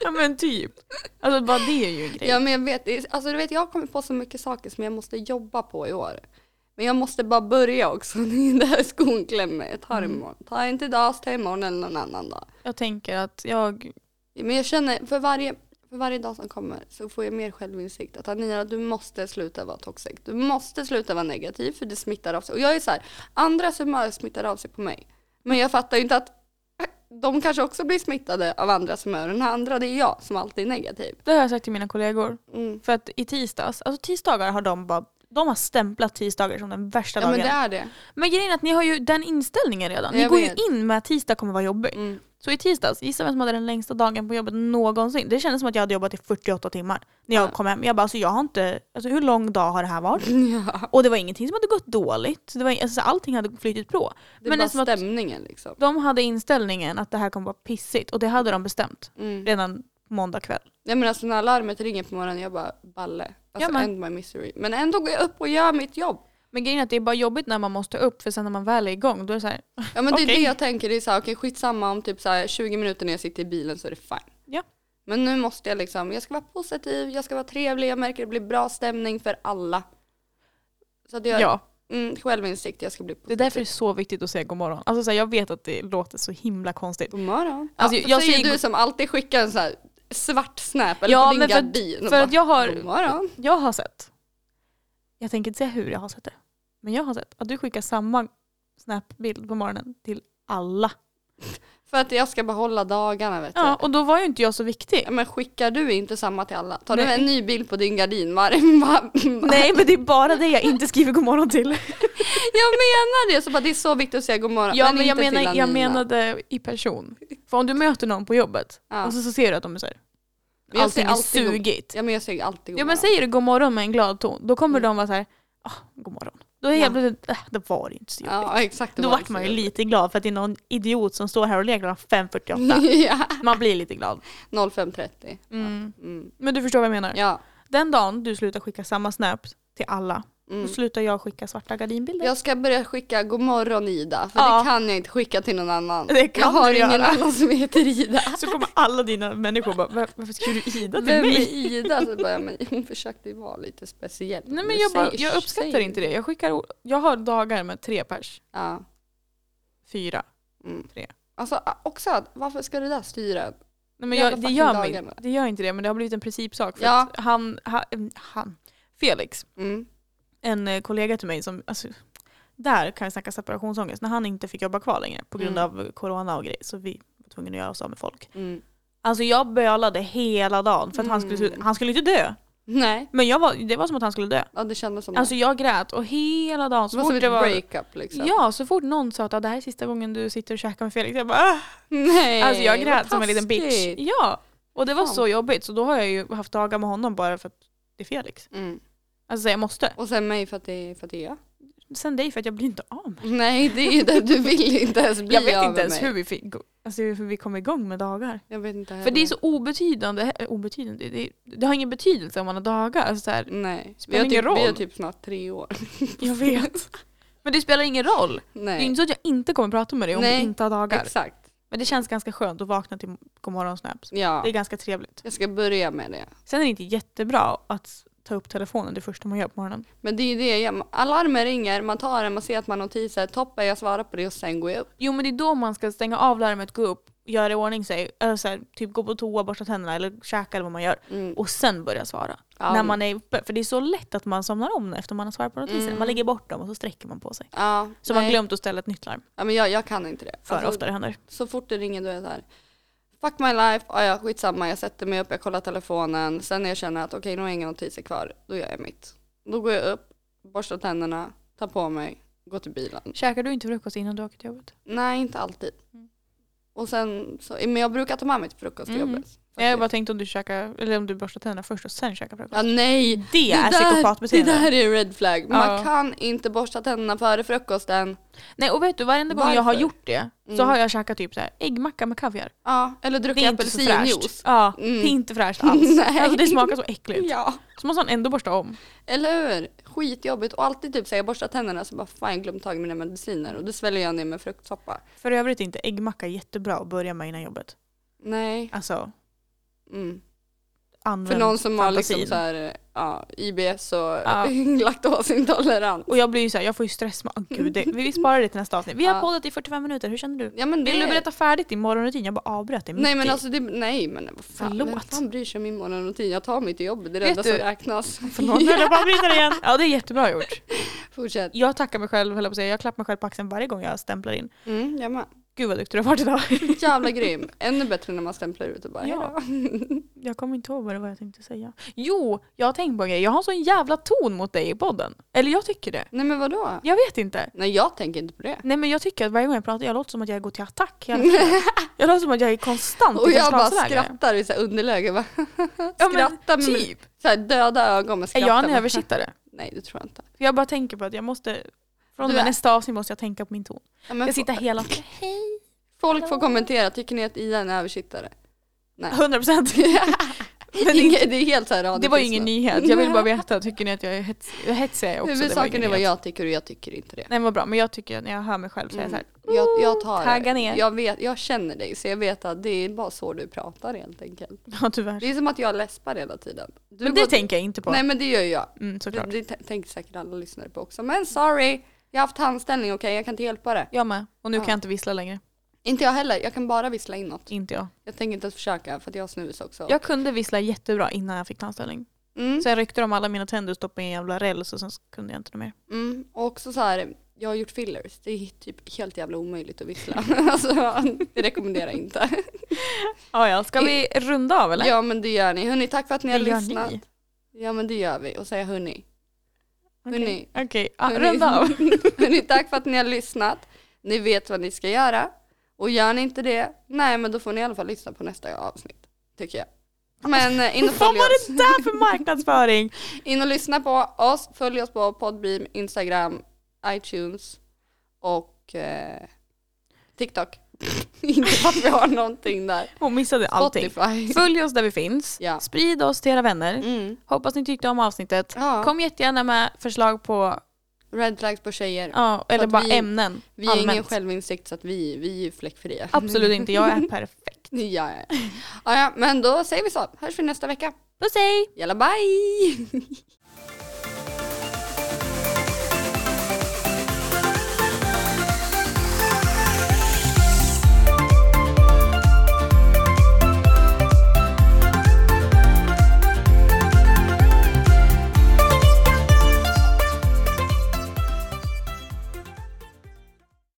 Speaker 2: ja men typ. Alltså bara det är ju en grej.
Speaker 1: Ja men jag vet, det är- alltså du vet jag har kommit på så mycket saker som jag måste jobba på i år. Men jag måste bara börja också, det är där skon klämmer. Jag tar det imorgon. Ta inte idag, så ta imorgon eller någon annan dag.
Speaker 2: Jag tänker att jag,
Speaker 1: Men jag känner för varje, för varje dag som kommer så får jag mer självinsikt. Att Anira, du måste sluta vara toxic. Du måste sluta vara negativ för det smittar av sig. Och jag är så här, andras humör smittar av sig på mig. Men jag fattar ju inte att äh, de kanske också blir smittade av andras humör. Den här andra, det är jag som alltid är negativ.
Speaker 2: det har jag sagt till mina kollegor.
Speaker 1: Mm.
Speaker 2: För att i tisdags, alltså tisdagar har de bara, de har stämplat tisdagar som den värsta
Speaker 1: Ja
Speaker 2: dagen.
Speaker 1: men det är det.
Speaker 2: Men grejen är att ni har ju den inställningen redan. Ni
Speaker 1: Jag
Speaker 2: går
Speaker 1: vet.
Speaker 2: ju in med att tisdag kommer vara jobbig.
Speaker 1: Mm.
Speaker 2: Så i tisdags, gissa vem som hade den längsta dagen på jobbet någonsin. Det kändes som att jag hade jobbat i 48 timmar när jag
Speaker 1: Ja.
Speaker 2: kom hem. Jag bara alltså jag har inte, alltså hur lång dag har det här varit? Och det var ingenting som hade gått dåligt. Så Det var, alltså, allting hade flytit på.
Speaker 1: Det är
Speaker 2: Men det är
Speaker 1: bara
Speaker 2: som att-
Speaker 1: stämningen liksom.
Speaker 2: De hade inställningen att det här kommer vara pissigt och det hade de bestämt
Speaker 1: Mm.
Speaker 2: redan måndag kväll.
Speaker 1: Nej men alltså när alarmet ringer på morgonen, jag bara balle. Alltså
Speaker 2: Ja, men-
Speaker 1: end my misery. Men ändå går jag upp och gör mitt jobb.
Speaker 2: Men grejen är att det är bara jobbigt när man måste upp för sen när man väl är igång då är det så här,
Speaker 1: Ja men det är
Speaker 2: Okej.
Speaker 1: det jag tänker, det är så här, okej skitsamma om typ så här, 20 minuter när jag sitter i bilen så är det fine.
Speaker 2: Ja.
Speaker 1: Men nu måste jag liksom, jag ska vara positiv, jag ska vara trevlig, jag märker det blir bra stämning för alla. Så att jag,
Speaker 2: ja.
Speaker 1: mm, självinsikt, jag ska bli
Speaker 2: Det är
Speaker 1: positiv.
Speaker 2: därför det är så viktigt att säga god morgon. Alltså så här, jag vet att det låter så himla konstigt.
Speaker 1: God morgon.
Speaker 2: Alltså,
Speaker 1: ja,
Speaker 2: jag
Speaker 1: säger
Speaker 2: säger-
Speaker 1: du som alltid skickar en så här svart snap eller
Speaker 2: Ja,
Speaker 1: på din
Speaker 2: men för att-
Speaker 1: gardin. och
Speaker 2: För att
Speaker 1: bara,
Speaker 2: jag har,
Speaker 1: God morgon.
Speaker 2: jag har sett, jag tänker inte säga hur jag har sett det, men jag har sett att du skickar samma snapbild på morgonen till alla.
Speaker 1: För att jag ska behålla dagarna vet
Speaker 2: Ja,
Speaker 1: ja.
Speaker 2: och då var ju inte jag så viktig.
Speaker 1: du. Men skickar du inte samma till alla? Tar
Speaker 2: Nej.
Speaker 1: du en ny bild på din gardin varje var,
Speaker 2: Nej men det är bara det jag inte skriver god morgon till.
Speaker 1: Jag menar det, så bara, det är så viktigt att säga god morgon.
Speaker 2: Ja men jag,
Speaker 1: inte till
Speaker 2: menar, jag
Speaker 1: Anina.
Speaker 2: menade i person. För om du möter någon på jobbet
Speaker 1: Ja.
Speaker 2: och så, så ser du att de är såhär,
Speaker 1: Men jag
Speaker 2: alltså, allting
Speaker 1: säger alltid
Speaker 2: är
Speaker 1: god-
Speaker 2: sugigt.
Speaker 1: Ja men jag säger alltid god
Speaker 2: Ja men
Speaker 1: morgon.
Speaker 2: säger du god morgon med en glad ton, då kommer
Speaker 1: Mm.
Speaker 2: de vara såhär, ah, god morgon. Då är
Speaker 1: Ja.
Speaker 2: jag plötsligt, äh, det var inte så jobbigt.
Speaker 1: Ja exakt. det
Speaker 2: Då
Speaker 1: var
Speaker 2: vart
Speaker 1: det
Speaker 2: man ju
Speaker 1: så.
Speaker 2: lite glad för att det är någon idiot som står här och leker klockan 5.48.
Speaker 1: ja.
Speaker 2: Man blir lite glad.
Speaker 1: 05.30.
Speaker 2: Mm.
Speaker 1: Mm.
Speaker 2: Men du förstår vad jag menar?
Speaker 1: Ja.
Speaker 2: Den dagen du slutar skicka samma snap till alla,
Speaker 1: Mm.
Speaker 2: då slutar jag skicka svarta gardinbilder.
Speaker 1: Jag ska börja skicka god morgon Ida, för
Speaker 2: Ja.
Speaker 1: det kan jag inte skicka till någon annan.
Speaker 2: Det kan
Speaker 1: jag har
Speaker 2: du
Speaker 1: ingen
Speaker 2: göra.
Speaker 1: annan som heter Ida.
Speaker 2: Så kommer alla dina människor bara, "Var- varför skriver du Ida till
Speaker 1: Vem
Speaker 2: mig?
Speaker 1: är Ida? Så bara, men hon försökte ju vara lite speciell.
Speaker 2: Nej
Speaker 1: Du
Speaker 2: men jag, bara,
Speaker 1: säger-
Speaker 2: jag uppskattar
Speaker 1: säger-
Speaker 2: inte det. Jag, skickar, o- jag har dagar med tre pers,
Speaker 1: Ja.
Speaker 2: fyra.
Speaker 1: Mm.
Speaker 2: Tre.
Speaker 1: Alltså också, att, varför ska det där styra?
Speaker 2: Nej, men
Speaker 1: Jävla
Speaker 2: jag, det,
Speaker 1: fucking
Speaker 2: gör mig,
Speaker 1: dagarna.
Speaker 2: det gör inte det men det har blivit en principsak. För
Speaker 1: Ja.
Speaker 2: att han, ha, mm, han, Felix,
Speaker 1: Mm.
Speaker 2: en eh, kollega till mig som, alltså, där kan jag snacka separationsångest. När han inte fick jobba kvar längre på grund
Speaker 1: Mm.
Speaker 2: av corona och grejer så vi var tvungna att göra oss av med folk.
Speaker 1: Mm.
Speaker 2: Alltså jag bölade hela dagen för att han, skulle,
Speaker 1: Mm.
Speaker 2: han skulle inte dö.
Speaker 1: Nej,
Speaker 2: Men jag var, det var som att han skulle dö.
Speaker 1: ja, det kändes som
Speaker 2: Alltså jag grät och hela dagen
Speaker 1: det.
Speaker 2: så
Speaker 1: Det var som
Speaker 2: fort det
Speaker 1: ett
Speaker 2: var...
Speaker 1: breakup liksom.
Speaker 2: Ja, så fort någon sa att "Ah, det här är sista gången du sitter och käkar med Felix, jag bara "Ah."
Speaker 1: Nej,
Speaker 2: Alltså jag
Speaker 1: vad
Speaker 2: grät som en liten bitch.
Speaker 1: taskigt.
Speaker 2: Ja, och det var
Speaker 1: Fan.
Speaker 2: så jobbigt så då har jag ju haft dagar med honom bara för att det är Felix.
Speaker 1: Mm.
Speaker 2: Alltså så jag måste.
Speaker 1: Och sen mig för att det, för att det är jag.
Speaker 2: Sen dig för att jag blir inte av med
Speaker 1: Nej, det är ju det. Du vill inte ens bli
Speaker 2: Jag vet
Speaker 1: av
Speaker 2: inte
Speaker 1: med
Speaker 2: ens
Speaker 1: mig.
Speaker 2: hur vi, fick, alltså hur vi kom igång med dagar.
Speaker 1: Jag vet inte heller.
Speaker 2: För det är så obetydande, eh, obetydande det, det har ingen betydelse om man har dagar. Alltså så här,
Speaker 1: Nej.
Speaker 2: Spelar
Speaker 1: Vi har,
Speaker 2: ingen
Speaker 1: typ, vi har
Speaker 2: roll.
Speaker 1: typ snart tre år.
Speaker 2: jag vet. Men det spelar ingen roll. Det är
Speaker 1: Nej.
Speaker 2: inte så att jag inte kommer prata med dig om
Speaker 1: Nej,
Speaker 2: vi inte har dagar.
Speaker 1: Exakt.
Speaker 2: Men det känns ganska skönt att vakna till godmorgonsnaps. Det
Speaker 1: Ja.
Speaker 2: är ganska trevligt.
Speaker 1: Jag ska börja med det.
Speaker 2: Sen är det inte jättebra att ta upp telefonen det första man gör på morgonen.
Speaker 1: Men det är ju det jag gör. Alarmen ringer, man tar den, man ser att man har notiser. Toppen, jag svarar på det och sen går jag upp.
Speaker 2: Jo men det är då man ska stänga av larmet, gå upp, göra i ordning sig, eller så här, typ gå på toa, borsta tänderna eller käka eller vad man gör.
Speaker 1: Mm.
Speaker 2: Och sen börja svara.
Speaker 1: Ja.
Speaker 2: När man är uppe. För det är så lätt att man somnar om efter man har svarat på notiserna.
Speaker 1: Mm.
Speaker 2: Man lägger bort dem och så sträcker man på sig.
Speaker 1: Ja,
Speaker 2: Så
Speaker 1: nej.
Speaker 2: man glömt att ställa ett nytt larm.
Speaker 1: ja, men jag, jag kan inte det.
Speaker 2: För
Speaker 1: Alltså,
Speaker 2: ofta det händer.
Speaker 1: Så fort det ringer då är jag så här. Fuck my life, ah, ja, skitsamma, jag sätter mig upp, jag kollar telefonen. Sen när jag känner att okej, nu har jag inga notiser kvar, då gör jag mitt. Då går jag upp, borstar tänderna, tar på mig, gå till bilen.
Speaker 2: Käkar du inte frukost innan du åker till jobbet?
Speaker 1: Nej, inte alltid.
Speaker 2: Mm.
Speaker 1: Och sen, så, men jag brukar ta med mig till frukost till
Speaker 2: Mm.
Speaker 1: jobbet.
Speaker 2: Jag har bara
Speaker 1: faktiskt.
Speaker 2: tänkt om du käkar, eller om du borstar tänderna först och sen käkar frukost.
Speaker 1: ja, nej,
Speaker 2: det, är
Speaker 1: det
Speaker 2: psykopatbeteende.
Speaker 1: där är en red flag. Man
Speaker 2: Ja.
Speaker 1: kan inte borsta tänderna före frukosten.
Speaker 2: Nej och vet du, varenda gång jag har
Speaker 1: Varför?
Speaker 2: gjort det så
Speaker 1: Mm.
Speaker 2: har jag käkat typ så här, äggmacka med kaviar.
Speaker 1: Ja, eller
Speaker 2: Det
Speaker 1: dricka
Speaker 2: är inte så
Speaker 1: apelsinjuice.
Speaker 2: fräscht. Ja,
Speaker 1: Mm.
Speaker 2: det är inte fräscht alls.
Speaker 1: Nej.
Speaker 2: Alltså det smakar så äckligt.
Speaker 1: Ja,
Speaker 2: Så måste man ändå borsta om.
Speaker 1: eller hur? Skitjobbigt. Och alltid typ säger jag borstar tänderna så bara fan jag glömde tag i mina mediciner och det sväljer jag ner med fruktsoppa.
Speaker 2: För övrigt är inte äggmacka jättebra att börja med innan jobbet.
Speaker 1: Nej.
Speaker 2: Alltså,
Speaker 1: Mm.
Speaker 2: använd
Speaker 1: För någon som har
Speaker 2: fantasin.
Speaker 1: liksom så här, ja, IBS och
Speaker 2: Ja.
Speaker 1: laktosintolerans.
Speaker 2: Och jag blir ju såhär, jag får ju stress med, oh, gud, det, vi sparar det till nästa avsnitt. Vi har
Speaker 1: Ja.
Speaker 2: poddat i 45 minuter, hur känner du?
Speaker 1: Ja, men det...
Speaker 2: Vill du berätta färdigt din morgonrutin? Jag bara avbröt dig mitt
Speaker 1: Nej men
Speaker 2: i.
Speaker 1: alltså, det, nej men vad fan,
Speaker 2: Förlåt.
Speaker 1: vem fan bryr sig om min morgonrutin? Jag tar mig till jobbet, det är det
Speaker 2: Vet
Speaker 1: enda som
Speaker 2: du-
Speaker 1: räknas.
Speaker 2: Förlåt, nu höll jag på att avbryta dig igen. Ja det är jättebra gjort.
Speaker 1: Fortsätt.
Speaker 2: Jag tackar mig själv, höll jag på att säga. Jag klappar mig själv på axeln varje gång jag stämplar in.
Speaker 1: Mm, jag med.
Speaker 2: Gud vad duktig du har varit idag.
Speaker 1: Jävla grym. Ännu bättre när man stämplar ut och bara
Speaker 2: Ja.
Speaker 1: ja.
Speaker 2: Jag kommer inte ihåg vad det var jag tänkte säga. Jo, jag har tänkt på en grej. Jag har en sån jävla ton mot dig i podden. Eller jag tycker det.
Speaker 1: Nej men vadå?
Speaker 2: Jag vet inte.
Speaker 1: Nej jag tänker inte på det.
Speaker 2: Nej men jag tycker att varje gång jag pratar, jag låter som att jag går till attack hela tiden. Jag låter som att jag är konstant
Speaker 1: Och
Speaker 2: i
Speaker 1: jag bara
Speaker 2: försvarsläge.
Speaker 1: skrattar i så här underläge. Bara,
Speaker 2: Ja, men
Speaker 1: skrattar med
Speaker 2: Typ.
Speaker 1: så här döda ögon men
Speaker 2: Är
Speaker 1: skrattar.
Speaker 2: jag en
Speaker 1: bara,
Speaker 2: översittare?
Speaker 1: Nej det tror jag inte.
Speaker 2: För jag bara tänker på att jag måste, från och
Speaker 1: Du är-
Speaker 2: med nästa avsnitt måste jag tänka på min ton.
Speaker 1: Ja, men
Speaker 2: Jag
Speaker 1: fo-
Speaker 2: sitter hela tiden, hej.
Speaker 1: Folk får kommentera, tycker ni att Ida är en översittare? Nej.
Speaker 2: 100 procent.
Speaker 1: Men Inge, det är helt så här radio-
Speaker 2: Det var ju ingen nyhet, jag vill bara veta, tycker ni att jag är hetsig? Hetsig är jag också. det var
Speaker 1: Huvudsaken
Speaker 2: ingen
Speaker 1: är vad
Speaker 2: nyhet.
Speaker 1: jag tycker och jag tycker inte det.
Speaker 2: Nej vad bra, men jag tycker att när jag hör mig själv så är jag såhär,
Speaker 1: Mm. Jag, jag tar
Speaker 2: tagga
Speaker 1: det.
Speaker 2: ner.
Speaker 1: Jag, vet, jag känner dig så jag vet att det är bara så du pratar helt enkelt.
Speaker 2: ja tyvärr.
Speaker 1: Det är som att jag läspar hela tiden. Du
Speaker 2: Men det
Speaker 1: går-
Speaker 2: tänker jag inte på.
Speaker 1: Nej men det gör ju jag.
Speaker 2: Mm,
Speaker 1: Det,
Speaker 2: såklart.
Speaker 1: det t- tänker säkert alla lyssnare på också. Men sorry, jag har haft handställning okej jag kan inte hjälpa det.
Speaker 2: Jag med. Och nu
Speaker 1: Ja.
Speaker 2: kan jag inte vissla längre.
Speaker 1: Inte jag heller, jag kan bara vissla inåt.
Speaker 2: Inte jag.
Speaker 1: Jag tänker inte ens försöka för att jag har snus också.
Speaker 2: Jag kunde vissla jättebra innan jag fick tandställning.
Speaker 1: Mm,
Speaker 2: Så jag ryckte om alla mina tänder och stoppade i en jävla räls och sen så kunde jag inte mer.
Speaker 1: mm. Och också så här, jag har gjort fillers. Det är typ helt jävla omöjligt att vissla. alltså, det rekommenderar jag inte.
Speaker 2: Ja, ja. Ska vi runda av eller?
Speaker 1: Ja men det gör ni. Hörni tack för att ni har
Speaker 2: Det gör
Speaker 1: lyssnat.
Speaker 2: ni.
Speaker 1: Ja men det gör vi. Och säga hörni.
Speaker 2: Okej,
Speaker 1: Hörni.
Speaker 2: Okej, ja,
Speaker 1: Hörni.
Speaker 2: runda av.
Speaker 1: Hörni tack för att ni har lyssnat. Ni vet vad ni ska göra. Och gör ni inte det, nej men då får ni i alla fall lyssna på nästa avsnitt. Tycker jag. Men eh, in och
Speaker 2: Vad
Speaker 1: följ
Speaker 2: var
Speaker 1: oss.
Speaker 2: det där för marknadsföring?
Speaker 1: In och lyssna på oss. Följ oss på Podbeam, Instagram, iTunes och eh, TikTok. inte för att vi har någonting där.
Speaker 2: Hon missade allting.
Speaker 1: Spotify.
Speaker 2: Följ oss där vi finns.
Speaker 1: Ja.
Speaker 2: Sprid oss till era vänner.
Speaker 1: Mm.
Speaker 2: Hoppas ni tyckte om avsnittet.
Speaker 1: Ja.
Speaker 2: Kom jättegärna med förslag på,
Speaker 1: Red flags på tjejer.
Speaker 2: ja, eller
Speaker 1: att
Speaker 2: bara
Speaker 1: vi-
Speaker 2: ämnen.
Speaker 1: Vi har ingen
Speaker 2: allmänt.
Speaker 1: självinsikt så att vi, vi är ju fläckfria.
Speaker 2: Absolut inte, jag är perfekt.
Speaker 1: Ja, ja. ja, ja, men då säger vi så. Hörs vi nästa vecka.
Speaker 2: Puss hej!
Speaker 1: Jalla bye!